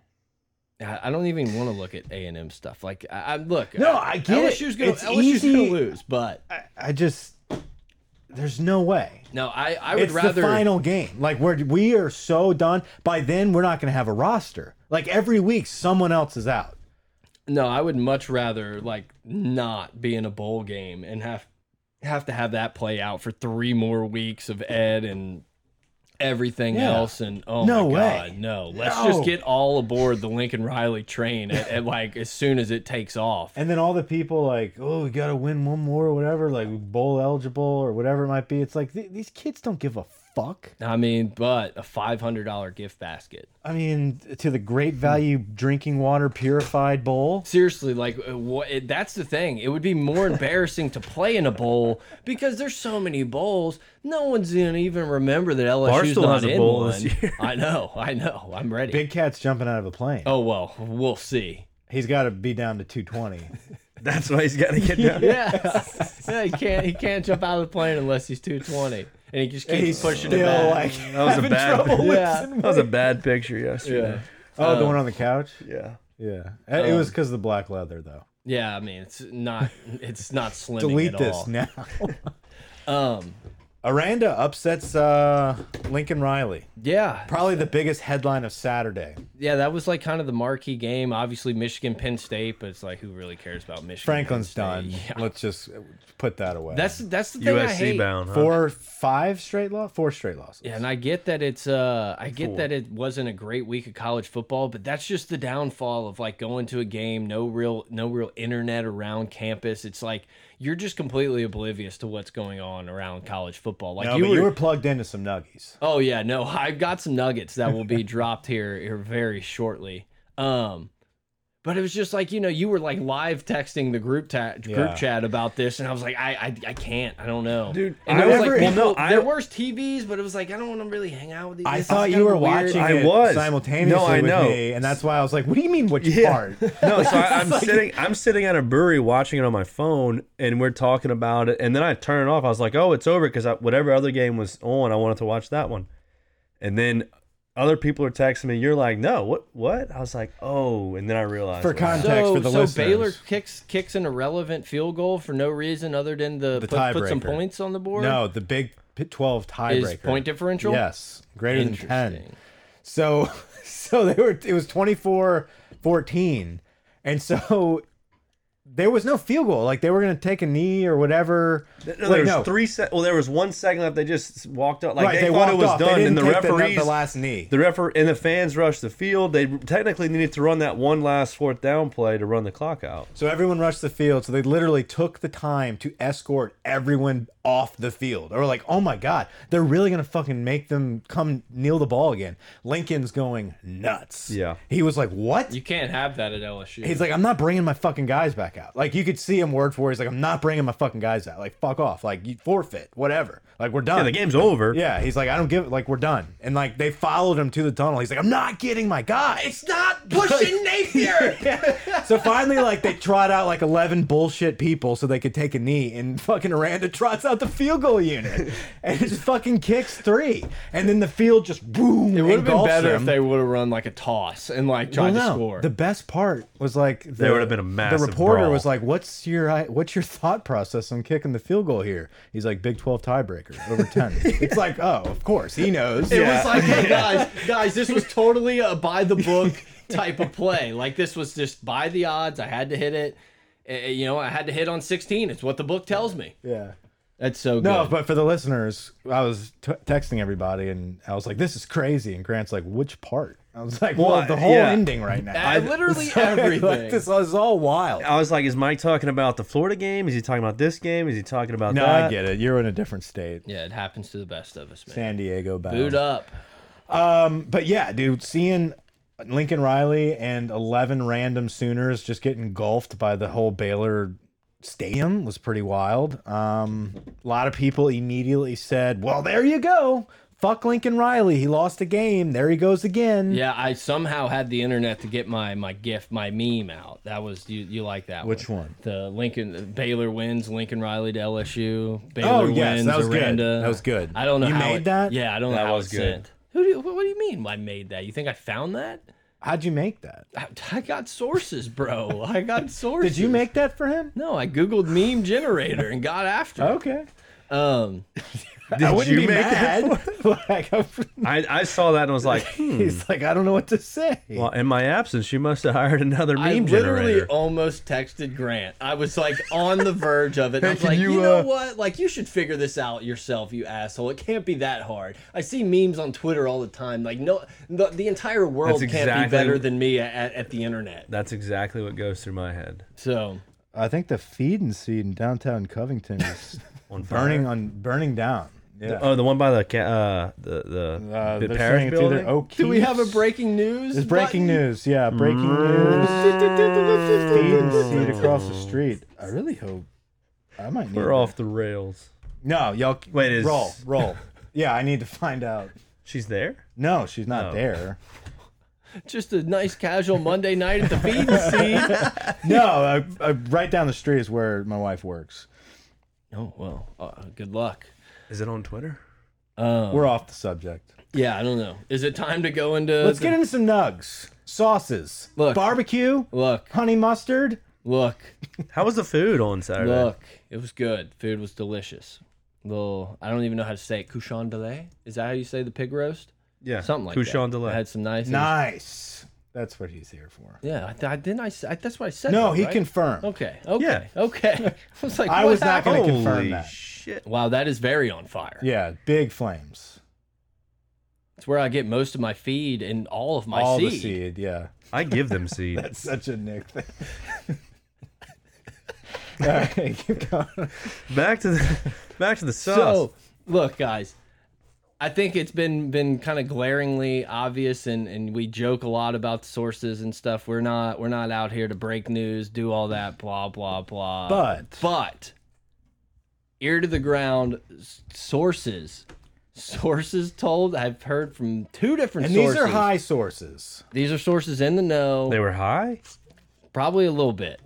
[SPEAKER 2] I I don't even want to look at A and M stuff. Like, I, I look.
[SPEAKER 4] No, I get it.
[SPEAKER 2] LSU's gonna
[SPEAKER 4] It's
[SPEAKER 2] LSU's gonna
[SPEAKER 4] easy.
[SPEAKER 2] lose, but
[SPEAKER 4] I, I just there's no way.
[SPEAKER 2] no, I I would
[SPEAKER 4] It's
[SPEAKER 2] rather
[SPEAKER 4] the final game. Like we're we are so done. By then, we're not going to have a roster. Like every week, someone else is out.
[SPEAKER 2] no, I would much rather like not be in a bowl game and have have to have that play out for three more weeks of Ed and everything
[SPEAKER 4] Yeah.
[SPEAKER 2] else and oh
[SPEAKER 4] No
[SPEAKER 2] my
[SPEAKER 4] way.
[SPEAKER 2] god no let's
[SPEAKER 4] No.
[SPEAKER 2] just get all aboard the Lincoln Riley train at, at like as soon as it takes off
[SPEAKER 4] And then all the people like, oh, we got to win one more or whatever, like bowl eligible or whatever it might be. It's like th these kids don't give a fuck.
[SPEAKER 2] I mean but a five hundred dollar gift basket
[SPEAKER 4] I mean, to the great value drinking water purified bowl.
[SPEAKER 2] Seriously, like uh, what? It, that's the thing. It would be more embarrassing to play in a bowl because there's so many bowls. No one's gonna even remember that LSU's
[SPEAKER 3] Barstool
[SPEAKER 2] not
[SPEAKER 3] has a
[SPEAKER 2] in
[SPEAKER 3] bowl
[SPEAKER 2] one.
[SPEAKER 3] this year.
[SPEAKER 2] I know, I know. I'm ready.
[SPEAKER 4] Big cat's jumping out of a plane.
[SPEAKER 2] oh well, we'll see.
[SPEAKER 4] He's got to be down to 220.
[SPEAKER 3] That's why he's got to get down.
[SPEAKER 2] Yeah, yeah. He can't. He can't jump out of the plane unless he's 220, and he just keeps pushing it back.
[SPEAKER 4] like
[SPEAKER 3] That was a bad.
[SPEAKER 2] yeah.
[SPEAKER 3] That was a bad picture yesterday.
[SPEAKER 4] Oh, the one on the couch?
[SPEAKER 3] Yeah.
[SPEAKER 4] Yeah. it was because of the black leather, though.
[SPEAKER 2] yeah. I mean, it's not. It's not slimming
[SPEAKER 4] Delete
[SPEAKER 2] at
[SPEAKER 4] this
[SPEAKER 2] all.
[SPEAKER 4] now.
[SPEAKER 2] Um.
[SPEAKER 4] Aranda upsets uh, Lincoln Riley.
[SPEAKER 2] Yeah.
[SPEAKER 4] Probably the biggest headline of Saturday.
[SPEAKER 2] Yeah. That was like kind of the marquee game. Obviously, Michigan, Penn State, but it's like who really cares about Michigan?
[SPEAKER 4] Franklin's
[SPEAKER 2] Penn
[SPEAKER 4] done.
[SPEAKER 2] State? Yeah.
[SPEAKER 4] Let's just put that away.
[SPEAKER 2] That's that's the thing I
[SPEAKER 3] USC
[SPEAKER 2] hate.
[SPEAKER 3] bound. Huh?
[SPEAKER 4] four, five straight loss, four straight losses.
[SPEAKER 2] Yeah, and I get that it's uh I get that it wasn't a great week of college football, but that's just the downfall of like going to a game, no real no real internet around campus. It's like you're just completely oblivious to what's going on around college football. Like
[SPEAKER 4] No,
[SPEAKER 2] you,
[SPEAKER 4] but
[SPEAKER 2] were,
[SPEAKER 4] you were plugged into some nuggies.
[SPEAKER 2] Oh yeah, no, I've got some nuggets that will be dropped here, here very shortly. Um but it was just like you know you were like live texting the group chat group
[SPEAKER 4] Yeah.
[SPEAKER 2] chat about this, and I was like I I, I can't I don't know,
[SPEAKER 3] Dude,
[SPEAKER 2] And
[SPEAKER 3] I
[SPEAKER 2] there was
[SPEAKER 3] never-
[SPEAKER 2] like people,
[SPEAKER 3] well, no, I-
[SPEAKER 2] there were TVs, but it was like I don't want to really hang out with you.
[SPEAKER 4] I
[SPEAKER 2] This is
[SPEAKER 4] thought
[SPEAKER 2] kinda
[SPEAKER 4] you were
[SPEAKER 2] weird.
[SPEAKER 4] watching
[SPEAKER 3] I
[SPEAKER 4] it
[SPEAKER 3] was.
[SPEAKER 4] simultaneously
[SPEAKER 3] No, I
[SPEAKER 4] with
[SPEAKER 3] know.
[SPEAKER 4] me, and that's why I was like, "What do you mean, which
[SPEAKER 3] Yeah.
[SPEAKER 4] part?"
[SPEAKER 3] No, so I, I'm sitting. I'm sitting at a brewery watching it on my phone, and we're talking about it. And then I turn it off. I was like, "Oh, it's over," because whatever other game was on, I wanted to watch that one. And then other people are texting me. You're like, "No, what? What?" I was like, "Oh," and then I realized.
[SPEAKER 4] For
[SPEAKER 3] wow.
[SPEAKER 4] context for the
[SPEAKER 2] so
[SPEAKER 4] listeners.
[SPEAKER 2] Baylor kicks kicks an irrelevant field goal for no reason other than the, put, put some
[SPEAKER 4] tiebreaker.
[SPEAKER 2] points on the board.
[SPEAKER 4] No, the Big Twelve tiebreaker
[SPEAKER 2] is point differential.
[SPEAKER 4] Yes, greater than ten.
[SPEAKER 2] Interesting.
[SPEAKER 4] So, so they were. It was 24-14. and so there was no field goal. Like they were going to take a knee or whatever.
[SPEAKER 3] No,
[SPEAKER 4] Wait,
[SPEAKER 3] there was
[SPEAKER 4] no.
[SPEAKER 3] three. Se- well, there was one second left. They just walked up. Like
[SPEAKER 4] Right,
[SPEAKER 3] they, thought it
[SPEAKER 4] walked
[SPEAKER 3] was
[SPEAKER 4] off. They
[SPEAKER 3] done,
[SPEAKER 4] didn't
[SPEAKER 3] and the
[SPEAKER 4] take
[SPEAKER 3] referees,
[SPEAKER 4] the, the last knee.
[SPEAKER 3] the refer, and the fans rushed the field. They technically needed to run that one last fourth down play to run the clock out.
[SPEAKER 4] So everyone rushed the field. So they literally took the time to escort everyone off the field. Or like, oh my god, they're really gonna fucking make them come kneel the ball again. Lincoln's going nuts.
[SPEAKER 3] Yeah.
[SPEAKER 4] he was like, what?
[SPEAKER 2] You can't have that at LSU.
[SPEAKER 4] He's like, I'm not bringing my fucking guys back out. Like you could see him word for word. He's like, I'm not bringing my fucking guys out. Like fuck off. Like you forfeit. Whatever. Like we're done.
[SPEAKER 3] Yeah, the game's over.
[SPEAKER 4] Yeah, he's like, I don't give. Like we're done. And like they followed him to the tunnel. He's like, I'm not getting my guys.
[SPEAKER 2] not pushing Napier.
[SPEAKER 4] so finally, like they trot out like 11 bullshit people so they could take a knee. And fucking Aranda trots out the field goal unit and just fucking kicks three. And then the field just boom.
[SPEAKER 2] It would have been
[SPEAKER 4] engulfs
[SPEAKER 2] better
[SPEAKER 4] them.
[SPEAKER 2] if they would have run like a toss and like
[SPEAKER 4] Well,
[SPEAKER 2] tried to
[SPEAKER 4] no,
[SPEAKER 2] score.
[SPEAKER 4] The best part was like the, there
[SPEAKER 3] would have been a massive
[SPEAKER 4] The reporter
[SPEAKER 3] brawl.
[SPEAKER 4] was like, "What's your i- what's your thought process on kicking the field goal here?" He's like, "Big Twelve tiebreaker over ten. It's like, oh, of course he knows.
[SPEAKER 2] it
[SPEAKER 4] Yeah.
[SPEAKER 2] was like, hey guys, guys, this was totally a by the book type of play. Like this was just by the odds. I had to hit it. Eh, eh, You know, I had to hit on 16. It's what the book tells me.
[SPEAKER 4] Yeah.
[SPEAKER 2] That's so good.
[SPEAKER 4] No, but for the listeners, I was t texting everybody and I was like, this is crazy. And Grant's like, which part? I was like, well,
[SPEAKER 3] Well,
[SPEAKER 4] the whole
[SPEAKER 3] yeah.
[SPEAKER 4] ending right now.
[SPEAKER 2] I, literally
[SPEAKER 4] like,
[SPEAKER 2] everything.
[SPEAKER 4] this was all wild.
[SPEAKER 3] I was like, is Mike talking about the Florida game? Is he talking about this game? Is he talking about
[SPEAKER 4] No,
[SPEAKER 3] that?
[SPEAKER 4] I get it. You're in a different state.
[SPEAKER 2] yeah, it happens to the best of us, man.
[SPEAKER 4] San Diego bound.
[SPEAKER 2] Boot up.
[SPEAKER 4] Um, but yeah, dude, seeing Lincoln Riley and 11 random Sooners just get engulfed by the whole Baylor stadium was pretty wild. Um, a lot of people immediately said, well, there you go. Fuck Lincoln Riley. He lost a game. There he goes again.
[SPEAKER 2] Yeah, I somehow had the internet to get my my gift, my meme out. That was you. You like that?
[SPEAKER 4] Which one?
[SPEAKER 2] The Lincoln Baylor wins. Lincoln Riley to LSU.
[SPEAKER 4] Oh,
[SPEAKER 2] Baylor
[SPEAKER 4] yes,
[SPEAKER 2] wins.
[SPEAKER 4] that was good.
[SPEAKER 2] Aranda.
[SPEAKER 4] That was good.
[SPEAKER 2] I don't know
[SPEAKER 4] You
[SPEAKER 2] how
[SPEAKER 4] made
[SPEAKER 2] it-
[SPEAKER 4] that?
[SPEAKER 2] Yeah, I don't know
[SPEAKER 3] That
[SPEAKER 2] how
[SPEAKER 3] was
[SPEAKER 2] it's
[SPEAKER 3] good.
[SPEAKER 2] sent. Who do? you- What, what do you mean? I made that? You think I found that?
[SPEAKER 4] How'd you make that?
[SPEAKER 2] I, I got sources, bro. I got sources.
[SPEAKER 4] Did you make that for him?
[SPEAKER 2] No, I googled meme generator and got after. it.
[SPEAKER 4] Okay.
[SPEAKER 2] Um,
[SPEAKER 3] Did
[SPEAKER 4] I wouldn't
[SPEAKER 3] you
[SPEAKER 4] be
[SPEAKER 3] make that? Hmm.
[SPEAKER 4] mad. like, I'm-
[SPEAKER 3] I, I saw that and was like, hmm.
[SPEAKER 4] He's like, I don't know what to say.
[SPEAKER 3] Well, in my absence, she must have hired another meme
[SPEAKER 2] I literally
[SPEAKER 3] generator.
[SPEAKER 2] almost texted Grant. I was like on the verge of it. I was
[SPEAKER 3] can
[SPEAKER 2] like, you,
[SPEAKER 3] you,
[SPEAKER 2] know
[SPEAKER 3] uh,
[SPEAKER 2] what? Like, you should figure this out yourself, you asshole. It can't be that hard. I see memes on Twitter all the time. Like, no, the, the entire world
[SPEAKER 3] That's
[SPEAKER 2] can't be
[SPEAKER 3] exactly-
[SPEAKER 2] better than me at, at the internet.
[SPEAKER 3] That's exactly what goes through my head.
[SPEAKER 2] So,
[SPEAKER 4] I think the feed and seed in downtown Covington is
[SPEAKER 3] On fire.
[SPEAKER 4] burning on burning down. Yeah.
[SPEAKER 3] Oh, the one by the ca- uh the the,
[SPEAKER 4] Uh,
[SPEAKER 3] the
[SPEAKER 4] they're
[SPEAKER 3] parish
[SPEAKER 4] saying it's either
[SPEAKER 3] building.
[SPEAKER 4] O'Keefe's.
[SPEAKER 2] do we have a breaking news?
[SPEAKER 4] It's breaking
[SPEAKER 2] button?
[SPEAKER 4] news. Yeah, breaking news. Feed and seed across the street. I really hope I might need.
[SPEAKER 3] We're off the rails.
[SPEAKER 4] No, y'all.
[SPEAKER 3] Wait, is-
[SPEAKER 4] roll, roll. yeah, I need to find out.
[SPEAKER 3] She's there.
[SPEAKER 4] No, she's not
[SPEAKER 3] Oh.
[SPEAKER 4] there.
[SPEAKER 2] Just a nice casual Monday night at the feed and seed.
[SPEAKER 4] No, uh uh right down the street is where my wife works.
[SPEAKER 2] Oh, well, uh, good luck.
[SPEAKER 3] Is it on Twitter?
[SPEAKER 2] Um,
[SPEAKER 4] We're off the subject.
[SPEAKER 2] yeah, I don't know. Is it time to go into.
[SPEAKER 4] Let's
[SPEAKER 2] the-
[SPEAKER 4] get into some nugs, sauces,
[SPEAKER 2] Look.
[SPEAKER 4] barbecue,
[SPEAKER 2] Look,
[SPEAKER 4] honey mustard.
[SPEAKER 2] look.
[SPEAKER 3] How was the food on Saturday?
[SPEAKER 2] Look, it was good. Food was delicious. Little, I don't even know how to say it. Couchon de lait? Is that how you say the pig roast?
[SPEAKER 3] yeah,
[SPEAKER 2] Something like
[SPEAKER 3] Couchon
[SPEAKER 2] that.
[SPEAKER 3] de
[SPEAKER 2] I
[SPEAKER 3] lait.
[SPEAKER 2] had some nice.
[SPEAKER 4] Nice. That's what he's here for.
[SPEAKER 2] Yeah, I, th- I didn't. I, s- I- that's what I said.
[SPEAKER 4] No,
[SPEAKER 2] though,
[SPEAKER 4] he
[SPEAKER 2] right? Oh,
[SPEAKER 4] confirmed.
[SPEAKER 2] Okay. Okay.
[SPEAKER 3] Yeah.
[SPEAKER 2] Okay. I was like,
[SPEAKER 4] I
[SPEAKER 2] what
[SPEAKER 4] was not
[SPEAKER 2] happened?
[SPEAKER 4] gonna
[SPEAKER 3] Holy
[SPEAKER 4] confirm that.
[SPEAKER 3] shit!
[SPEAKER 2] Wow, that is very on fire.
[SPEAKER 4] Yeah, big flames.
[SPEAKER 2] It's where I get most of my feed and all of my
[SPEAKER 4] All
[SPEAKER 2] seed.
[SPEAKER 4] the seed. Yeah,
[SPEAKER 3] I give them seed.
[SPEAKER 4] that's such a Nick thing. All right, keep going.
[SPEAKER 3] back to the back to the sauce.
[SPEAKER 2] So, look, guys, I think it's been been kind of glaringly obvious, and and we joke a lot about the sources and stuff. We're not we're not out here to break news, do all that, blah blah blah.
[SPEAKER 4] But
[SPEAKER 2] but ear to the ground s- sources. Sources told I've heard from two different
[SPEAKER 4] and
[SPEAKER 2] sources.
[SPEAKER 4] these are high sources.
[SPEAKER 2] These are sources in the know,
[SPEAKER 3] they were high.
[SPEAKER 2] probably a little bit.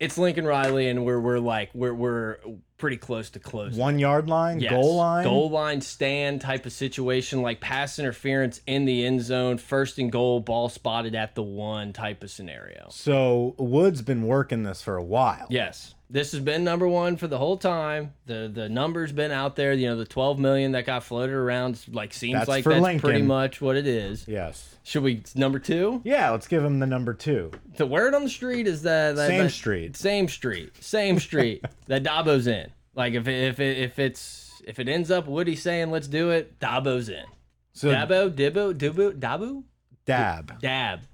[SPEAKER 2] It's Lincoln Riley, and we're we're like we're we're pretty close to close.
[SPEAKER 4] One yard line,
[SPEAKER 2] Yes.
[SPEAKER 4] goal line.
[SPEAKER 2] goal line stand type of situation, like pass interference in the end zone, first and goal, ball spotted at the one type of scenario.
[SPEAKER 4] So Wood's been working this for a while.
[SPEAKER 2] Yes, this has been number one for the whole time. the The number's been out there. You know, the twelve million that got floated around like seems
[SPEAKER 4] That's
[SPEAKER 2] like
[SPEAKER 4] for
[SPEAKER 2] that's
[SPEAKER 4] Lincoln.
[SPEAKER 2] pretty much what it is.
[SPEAKER 4] Yes.
[SPEAKER 2] Should we number two?
[SPEAKER 4] Yeah, let's give him the number two.
[SPEAKER 2] The word on the street is that, that
[SPEAKER 4] Same
[SPEAKER 2] that-
[SPEAKER 4] street.
[SPEAKER 2] same street, same street that Dabo's in. Like if it, if it, if it's if it ends up Woody saying let's do it, Dabo's in.
[SPEAKER 4] So
[SPEAKER 2] Dabo, Dibbo, Dubu, Dabu,
[SPEAKER 4] Dab.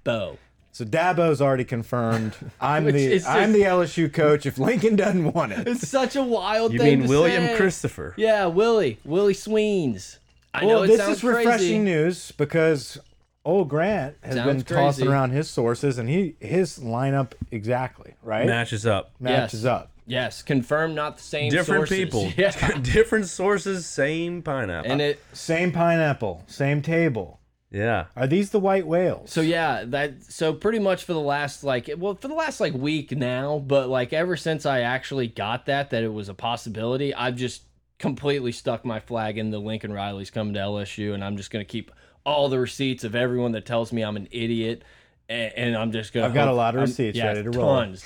[SPEAKER 2] Dabo.
[SPEAKER 4] So Dabo's already confirmed. I'm
[SPEAKER 2] Which
[SPEAKER 4] the
[SPEAKER 2] is just-
[SPEAKER 4] I'm the LSU coach. If Lincoln doesn't want it,
[SPEAKER 2] It's such a wild
[SPEAKER 3] You
[SPEAKER 2] thing.
[SPEAKER 3] mean
[SPEAKER 2] to
[SPEAKER 3] William
[SPEAKER 2] say.
[SPEAKER 3] Christopher?
[SPEAKER 2] Yeah, Willie, Willie Sweens. Oh, I know
[SPEAKER 4] Well,
[SPEAKER 2] it
[SPEAKER 4] this
[SPEAKER 2] sounds
[SPEAKER 4] is refreshing
[SPEAKER 2] crazy.
[SPEAKER 4] news because old Grant has
[SPEAKER 2] Sounds
[SPEAKER 4] been tossing
[SPEAKER 2] crazy.
[SPEAKER 4] around his sources and he his lineup exactly right
[SPEAKER 3] Matches up.
[SPEAKER 4] matches up.
[SPEAKER 2] Yes, confirmed, not the same.
[SPEAKER 3] Different
[SPEAKER 2] sources.
[SPEAKER 3] people.
[SPEAKER 2] Yeah,
[SPEAKER 3] Different sources. Same pineapple.
[SPEAKER 2] and it.
[SPEAKER 4] Same pineapple, same table.
[SPEAKER 3] yeah.
[SPEAKER 4] Are these the white whales?
[SPEAKER 2] So yeah, that so pretty much for the last like well for the last like week now, but like ever since I actually got that that it was a possibility, I've just completely stuck my flag in the Lincoln Riley's coming to LSU, and I'm just gonna keep all the receipts of everyone that tells me I'm an idiot, and, and I'm just gonna.
[SPEAKER 4] I've got a
[SPEAKER 2] hope-
[SPEAKER 4] lot of
[SPEAKER 2] I'm-
[SPEAKER 4] receipts
[SPEAKER 2] yeah,
[SPEAKER 4] ready to
[SPEAKER 2] tons,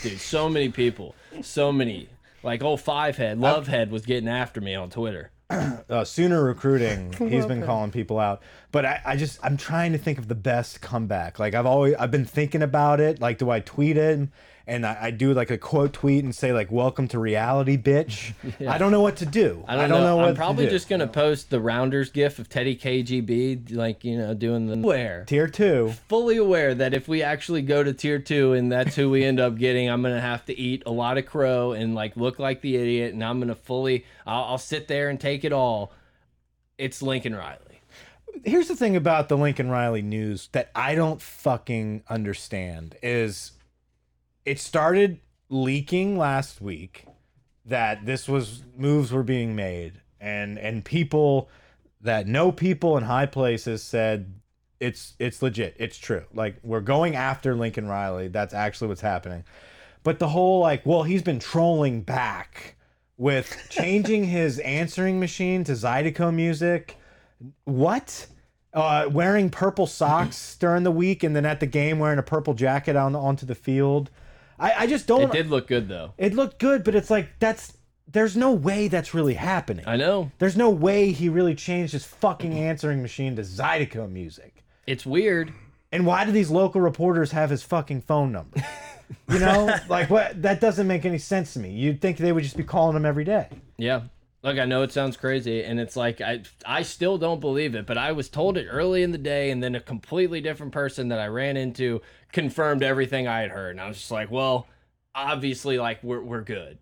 [SPEAKER 4] roll.
[SPEAKER 2] dude. So many people, so many. Like old five head, love head was getting after me on Twitter.
[SPEAKER 4] uh, Sooner Recruiting, he's been calling people out. But I, I just I'm trying to think of the best comeback. Like I've always I've been thinking about it. Like, do I tweet it? And I, I do like a quote tweet and say like "Welcome to reality, bitch." I don't know what to do.
[SPEAKER 2] I don't, know.
[SPEAKER 4] what
[SPEAKER 2] I'm probably
[SPEAKER 4] to do.
[SPEAKER 2] just gonna post the rounders gif of Teddy KGB, like you know, doing the where.
[SPEAKER 4] tier two.
[SPEAKER 2] Fully aware that if we actually go to tier two and that's who we end up getting, I'm gonna have to eat a lot of crow and like look like the idiot, and I'm gonna fully, I'll, I'll sit there and take it all. It's Lincoln Riley.
[SPEAKER 4] here's the thing about the Lincoln Riley news that I don't fucking understand is it started leaking last week that this was moves were being made and and people that know people in high places said it's it's legit it's true like we're going after Lincoln Riley that's actually what's happening but the whole like well he's been trolling back with changing his answering machine to Zydeco music what? Uh, wearing purple socks during the week and then at the game wearing a purple jacket on onto the field. I, I just
[SPEAKER 2] It
[SPEAKER 4] don't. It,
[SPEAKER 2] did look good though.
[SPEAKER 4] looked good, but it's like that's there's no way that's really happening.
[SPEAKER 2] I know
[SPEAKER 4] there's no way he really changed his fucking answering machine to Zydeco music.
[SPEAKER 2] it's weird.
[SPEAKER 4] And why do these local reporters have his fucking phone number? You know, like what? That doesn't make any sense to me. You'd think they would just be calling him every day.
[SPEAKER 2] Yeah. Look, I know it sounds crazy, and it's like I I still don't believe it, but I was told it early in the day, and then a completely different person that I ran into confirmed everything I had heard, and I was just like, well, obviously, like we're we're good.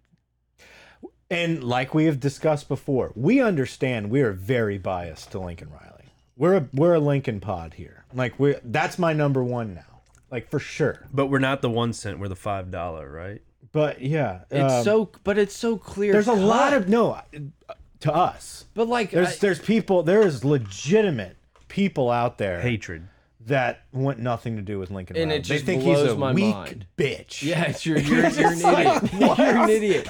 [SPEAKER 4] And like we have discussed before, we understand we are very biased to Lincoln Riley. We're a we're a Lincoln pod here. Like we that's my number one now. Like for sure.
[SPEAKER 3] But we're not the one cent. We're the five dollar, right?
[SPEAKER 4] But yeah,
[SPEAKER 2] It's
[SPEAKER 4] um,
[SPEAKER 2] so, but it's so clear.
[SPEAKER 4] there's a
[SPEAKER 2] cut.
[SPEAKER 4] lot of no uh, to us.
[SPEAKER 2] but like
[SPEAKER 4] There's
[SPEAKER 2] I-
[SPEAKER 4] there's people there is legitimate people out there
[SPEAKER 3] Hatred.
[SPEAKER 4] that want nothing to do with Lincoln
[SPEAKER 2] And
[SPEAKER 4] Riley.
[SPEAKER 2] it
[SPEAKER 4] they
[SPEAKER 2] just
[SPEAKER 4] think he's
[SPEAKER 2] blows
[SPEAKER 4] a
[SPEAKER 2] my
[SPEAKER 4] weak
[SPEAKER 2] mind.
[SPEAKER 4] bitch.
[SPEAKER 2] Yeah, it's your, you're, you're an idiot. you're an idiot.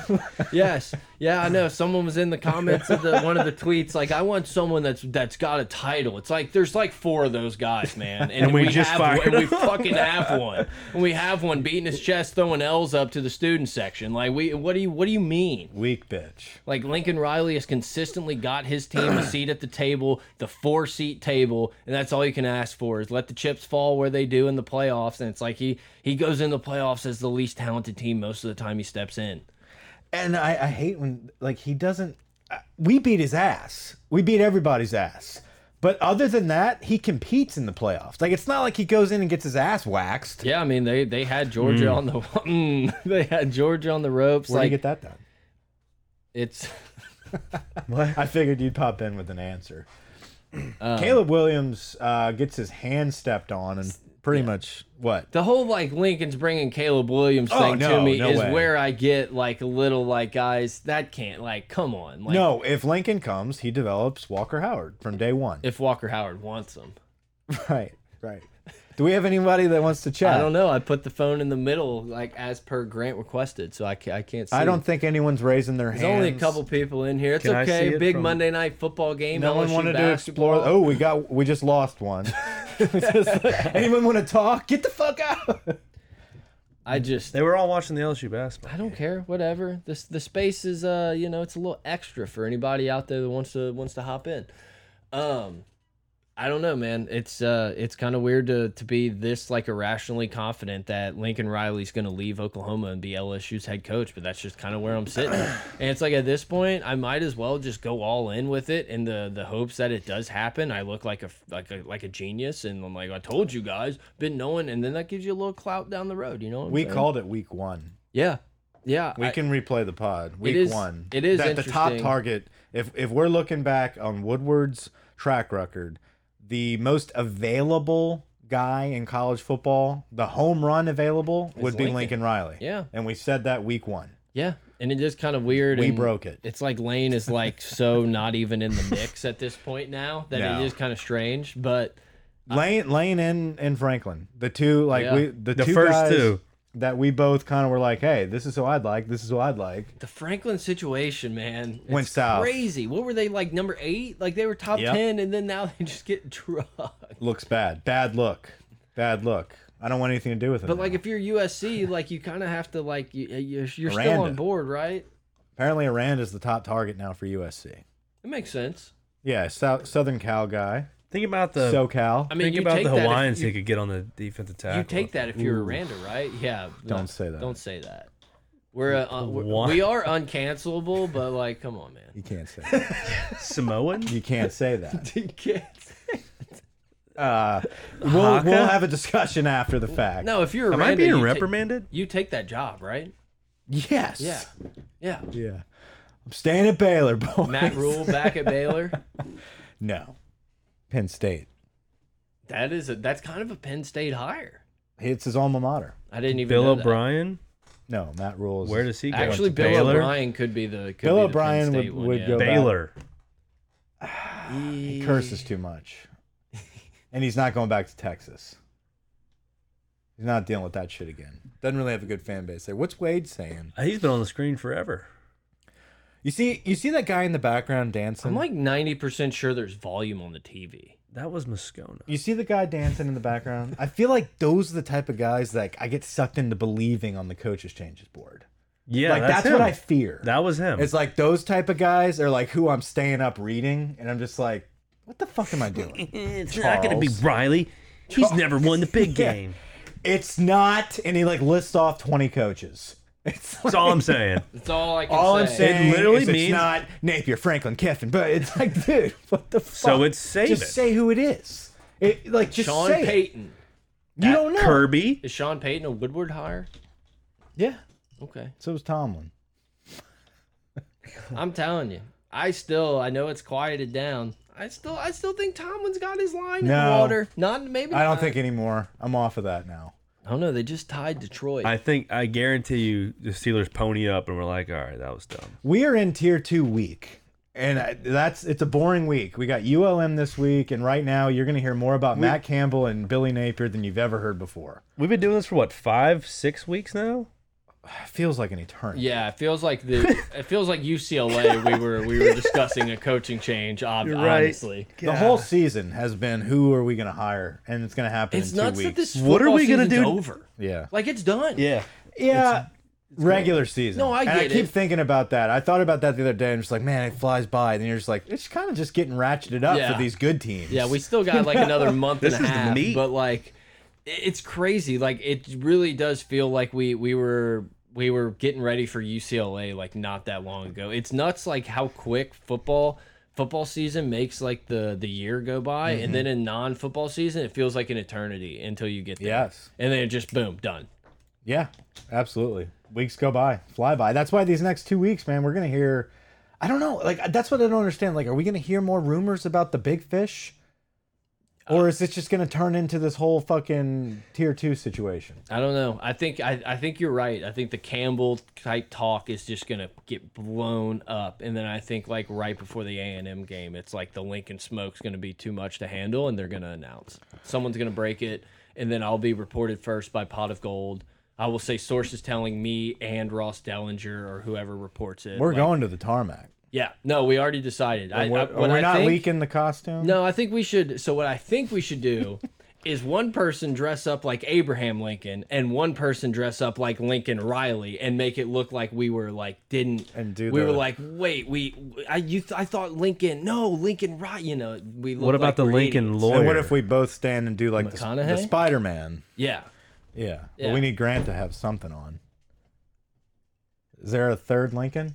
[SPEAKER 2] Yes. Yeah, I know. Someone was in the comments of the one of the tweets like, "I want someone that's that's got a title." It's like there's like four of those guys, man, and,
[SPEAKER 3] we just
[SPEAKER 2] have
[SPEAKER 3] fired
[SPEAKER 2] and we fucking have one. And we have one beating his chest, throwing L's up to the student section. Like, we what do you what do you mean?
[SPEAKER 4] Weak bitch.
[SPEAKER 2] Like Lincoln Riley has consistently got his team a seat at the table, the four seat table, and that's all you can ask for is let the chips fall where they do in the playoffs. And it's like he he goes in the playoffs as the least talented team most of the time he steps in.
[SPEAKER 4] And I, I hate when like he doesn't. I- We beat his ass. We beat everybody's ass. But other than that, he competes in the playoffs. Like it's not like he goes in and gets his ass waxed.
[SPEAKER 2] Yeah, I mean they they had Georgia on the mm, they had Georgia on the ropes.
[SPEAKER 4] Where do you
[SPEAKER 2] like
[SPEAKER 4] Hmm. get that done?
[SPEAKER 2] it's
[SPEAKER 4] I figured you'd pop in with an answer. Um, Caleb Williams uh, gets his hand stepped on and pretty much what
[SPEAKER 2] the whole like Lincoln's bringing Caleb Williams
[SPEAKER 4] Oh,
[SPEAKER 2] thing
[SPEAKER 4] no,
[SPEAKER 2] to me
[SPEAKER 4] no
[SPEAKER 2] is
[SPEAKER 4] way.
[SPEAKER 2] where I get like a little like guys that can't like come on like
[SPEAKER 4] no, if Lincoln comes, he develops Walker Howard from day one.
[SPEAKER 2] if Walker Howard wants him.
[SPEAKER 4] right, right. Do we have anybody that wants to chat?
[SPEAKER 2] I don't know. I put the phone in the middle, like as per Grant requested, so I ca- I can't. See.
[SPEAKER 4] I don't think anyone's raising their
[SPEAKER 2] There's
[SPEAKER 4] hands.
[SPEAKER 2] only a couple people in here. It's
[SPEAKER 3] Can I see
[SPEAKER 2] okay.
[SPEAKER 3] it
[SPEAKER 2] Big
[SPEAKER 3] from-
[SPEAKER 2] Monday night football game.
[SPEAKER 4] No one
[SPEAKER 2] LSU
[SPEAKER 4] wanted to
[SPEAKER 2] basketball.
[SPEAKER 4] explore. Oh, we got we just lost one. Just like, anyone want to talk? Get the fuck out.
[SPEAKER 2] I just
[SPEAKER 3] They were all watching the LSU basketball.
[SPEAKER 2] I don't care. Whatever. This the space is uh you know it's a little extra for anybody out there that wants to wants to hop in. Um, I don't know, man. It's uh it's kind of weird to to be this like irrationally confident that Lincoln Riley's going to leave Oklahoma and be LSU's head coach, but that's just kind of where I'm sitting. and it's like at this point, I might as well just go all in with it in the the hopes that it does happen. I look like a like a like a genius, and I'm like I told you guys, been knowing, and then that gives you a little clout down the road. You know, what I'm
[SPEAKER 4] We
[SPEAKER 2] saying?
[SPEAKER 4] called it week one.
[SPEAKER 2] yeah. Yeah,
[SPEAKER 4] We
[SPEAKER 2] I-
[SPEAKER 4] can replay the pod. Week
[SPEAKER 2] is-
[SPEAKER 4] one.
[SPEAKER 2] it is
[SPEAKER 4] that the top
[SPEAKER 2] interesting.
[SPEAKER 4] target. If if we're looking back on Woodward's track record, the most available guy in college football, the home run available would be
[SPEAKER 2] Lincoln.
[SPEAKER 4] Lincoln Riley.
[SPEAKER 2] Yeah.
[SPEAKER 4] and we said that week one.
[SPEAKER 2] Yeah, and it is kind of weird.
[SPEAKER 4] We
[SPEAKER 2] and
[SPEAKER 4] broke it.
[SPEAKER 2] It's like Lane is like so not even in the mix at this point now that
[SPEAKER 4] No.
[SPEAKER 2] it is kind of strange. But
[SPEAKER 4] Lane Lane and and Franklin, the two like
[SPEAKER 2] Yeah.
[SPEAKER 4] we the,
[SPEAKER 3] The
[SPEAKER 4] two
[SPEAKER 3] first
[SPEAKER 4] guys
[SPEAKER 3] two.
[SPEAKER 4] that we both kind of were like, hey, this is who I'd like. This is who I'd like.
[SPEAKER 2] the Franklin situation, man,
[SPEAKER 4] Went
[SPEAKER 2] it's
[SPEAKER 4] south.
[SPEAKER 2] Crazy. What were they like? Number eight? Like they were top
[SPEAKER 4] Yep.
[SPEAKER 2] ten, and then now they just get drugged.
[SPEAKER 4] looks bad. Bad look. Bad look. I don't want anything to do with it.
[SPEAKER 2] But like, if you're USC, like you kind of have to like you, you're, you're still
[SPEAKER 4] Miranda.
[SPEAKER 2] on board, right?
[SPEAKER 4] apparently, Arand is the top target now for USC.
[SPEAKER 2] I It makes sense.
[SPEAKER 4] Yeah, South, Southern Cal guy.
[SPEAKER 3] Think about the
[SPEAKER 4] SoCal.
[SPEAKER 2] I mean,
[SPEAKER 3] think
[SPEAKER 2] you
[SPEAKER 3] about
[SPEAKER 2] take
[SPEAKER 3] the
[SPEAKER 2] that if
[SPEAKER 3] Hawaiians
[SPEAKER 2] you-
[SPEAKER 3] he could get on the defensive tackle.
[SPEAKER 2] You take that if you're a Randa, right? Yeah.
[SPEAKER 4] Don't
[SPEAKER 2] no,
[SPEAKER 4] say that.
[SPEAKER 2] Don't say that. We're, uh, un- we're
[SPEAKER 3] What?
[SPEAKER 2] we are uncancelable, but like, come on, man.
[SPEAKER 4] you can't say that.
[SPEAKER 3] Samoan.
[SPEAKER 4] You can't say that.
[SPEAKER 2] You can't-
[SPEAKER 4] Uh, we'll,
[SPEAKER 3] Haka?
[SPEAKER 4] we'll have a discussion after the fact.
[SPEAKER 2] No, if you're a
[SPEAKER 3] Am I
[SPEAKER 2] Randa,
[SPEAKER 3] being
[SPEAKER 2] you take-
[SPEAKER 3] reprimanded?
[SPEAKER 2] you take that job, right?
[SPEAKER 4] Yes.
[SPEAKER 2] Yeah. Yeah.
[SPEAKER 4] Yeah. I'm staying at Baylor, boy.
[SPEAKER 2] Matt Rule back at Baylor.
[SPEAKER 4] No. Penn State.
[SPEAKER 2] That is a that's kind of a Penn State hire.
[SPEAKER 4] It's his alma mater.
[SPEAKER 2] I didn't even
[SPEAKER 3] Bill
[SPEAKER 2] know that.
[SPEAKER 3] O'Brien.
[SPEAKER 4] No, Matt Rule is.
[SPEAKER 3] Where does he go?
[SPEAKER 2] Actually, Bill
[SPEAKER 3] Baylor?
[SPEAKER 2] O'Brien could be the could
[SPEAKER 4] Bill
[SPEAKER 2] be the Penn
[SPEAKER 4] O'Brien would-
[SPEAKER 2] State one,
[SPEAKER 4] would
[SPEAKER 2] yeah.
[SPEAKER 4] go-
[SPEAKER 3] Baylor.
[SPEAKER 4] he curses too much, and he's not going back to Texas. He's not dealing with that shit again. Doesn't really have a good fan base there. What's Wade saying?
[SPEAKER 3] He's been on the screen forever.
[SPEAKER 4] You see, you see that guy in the background dancing.
[SPEAKER 2] I'm like 90% sure there's volume on the TV.
[SPEAKER 3] That was Moscona.
[SPEAKER 4] you see the guy dancing in the background. I feel like those are the type of guys that I get sucked into believing on the coaches changes board.
[SPEAKER 3] Yeah,
[SPEAKER 4] like that's,
[SPEAKER 3] him.
[SPEAKER 4] what I fear.
[SPEAKER 3] That was him.
[SPEAKER 4] It's like those type of guys are like who I'm staying up reading, and I'm just like, what the fuck am I doing?
[SPEAKER 3] it's
[SPEAKER 4] not gonna be Eh, Charles.
[SPEAKER 3] Riley. He's never won the big
[SPEAKER 4] Yeah. game. it's not, and he like lists off 20 coaches. It's like,
[SPEAKER 3] That's all I'm saying.
[SPEAKER 2] That's all I can
[SPEAKER 4] all
[SPEAKER 2] say.
[SPEAKER 4] I'm saying
[SPEAKER 3] It literally
[SPEAKER 4] is
[SPEAKER 3] means-
[SPEAKER 4] it's not Napier, Franklin, Kevin, but it's like, dude, what the fuck?
[SPEAKER 3] So it's save
[SPEAKER 4] just
[SPEAKER 3] it.
[SPEAKER 4] say who it is. It like just
[SPEAKER 2] Sean
[SPEAKER 4] say it.
[SPEAKER 2] Payton.
[SPEAKER 4] You don't know.
[SPEAKER 3] Kirby.
[SPEAKER 2] Is Sean Payton a Woodward hire?
[SPEAKER 4] Yeah.
[SPEAKER 2] Okay.
[SPEAKER 4] So was Tomlin.
[SPEAKER 2] I'm telling you. I still I know it's quieted down. I still I still think Tomlin's got his line in the
[SPEAKER 4] No.
[SPEAKER 2] water. Not maybe
[SPEAKER 4] I don't
[SPEAKER 2] not.
[SPEAKER 4] think anymore. I'm off of that now.
[SPEAKER 2] I don't know, they just tied Detroit.
[SPEAKER 3] I think I guarantee you the Steelers pony up and we're like, all right, that was dumb.
[SPEAKER 4] We are in tier two week. And I, that's it's a boring week. We got ULM this week, and right now you're going to hear more about Matt Campbell and Billy Napier than you've ever heard before.
[SPEAKER 3] We've been doing this for what five, six weeks now.
[SPEAKER 4] It feels like an eternity.
[SPEAKER 2] yeah, it feels like the it feels like UCLA we were we were discussing a coaching change, ob-
[SPEAKER 3] right.
[SPEAKER 2] honestly.
[SPEAKER 4] The whole season has been who are we going to hire, and it's going to happen
[SPEAKER 2] It's
[SPEAKER 4] in two
[SPEAKER 2] nuts
[SPEAKER 4] weeks.
[SPEAKER 2] that this
[SPEAKER 3] What are
[SPEAKER 2] football
[SPEAKER 3] we gonna
[SPEAKER 2] season's
[SPEAKER 3] do-
[SPEAKER 2] over.
[SPEAKER 4] yeah,
[SPEAKER 2] Like it's done.
[SPEAKER 3] Yeah,
[SPEAKER 4] yeah. regular season.
[SPEAKER 2] No, I
[SPEAKER 4] and
[SPEAKER 2] get
[SPEAKER 4] I keep
[SPEAKER 2] it.
[SPEAKER 4] thinking about that. I thought about that the other day. and just like, man, it flies by. And then you're just like, it's kind of just getting ratcheted up
[SPEAKER 2] Yeah.
[SPEAKER 4] for these good teams.
[SPEAKER 2] Yeah, we still got like another month and
[SPEAKER 3] This
[SPEAKER 2] a
[SPEAKER 3] is the
[SPEAKER 2] half,
[SPEAKER 3] meat.
[SPEAKER 2] but like it- it's crazy. Like it really does feel like we we were we were getting ready for UCLA like not that long ago. It's nuts like how quick football football season makes like the the year go by
[SPEAKER 3] Mm-hmm.
[SPEAKER 2] and then in non-football season it feels like an eternity until you get there.
[SPEAKER 4] Yes.
[SPEAKER 2] And then it just boom, done.
[SPEAKER 4] Yeah, absolutely. Weeks go by, fly by. That's why these next two weeks, man, we're gonna hear. I don't know. Like that's what I don't understand. Like, are we gonna hear more rumors about the big fish, or is this just gonna turn into this whole fucking tier two situation?
[SPEAKER 2] I don't know. I think I, I think you're right. I think the Campbell type talk is just gonna get blown up, and then I think like right before the A and M game, it's like the Lincoln smoke's gonna be too much to handle, and they're gonna announce someone's gonna break it, and then I'll be reported first by Pot of Gold. I will say sources telling me and Ross Dellinger or whoever reports it.
[SPEAKER 4] We're
[SPEAKER 2] Like,
[SPEAKER 4] going to the tarmac.
[SPEAKER 2] Yeah. No, we already decided. I, I,
[SPEAKER 4] We're,
[SPEAKER 2] what
[SPEAKER 4] are we
[SPEAKER 2] I
[SPEAKER 4] not
[SPEAKER 2] think-
[SPEAKER 4] leaking the costume?
[SPEAKER 2] no, I think we should. So what I think we should do is one person dress up like Abraham Lincoln and one person dress up like Lincoln Riley and make it look like we were like didn't
[SPEAKER 4] And do
[SPEAKER 2] we
[SPEAKER 4] the-
[SPEAKER 2] were like wait we I you th I thought Lincoln no Lincoln Riley you know we look
[SPEAKER 3] What about
[SPEAKER 2] like
[SPEAKER 3] the
[SPEAKER 2] we're
[SPEAKER 3] Lincoln
[SPEAKER 2] idiots.
[SPEAKER 3] lawyer?
[SPEAKER 4] And what if we both stand and do like the, the
[SPEAKER 2] McConaughey?
[SPEAKER 4] Spider Man?
[SPEAKER 2] yeah
[SPEAKER 4] Yeah.
[SPEAKER 2] Yeah.
[SPEAKER 4] But we need Grant to have something on. Is there a third Lincoln?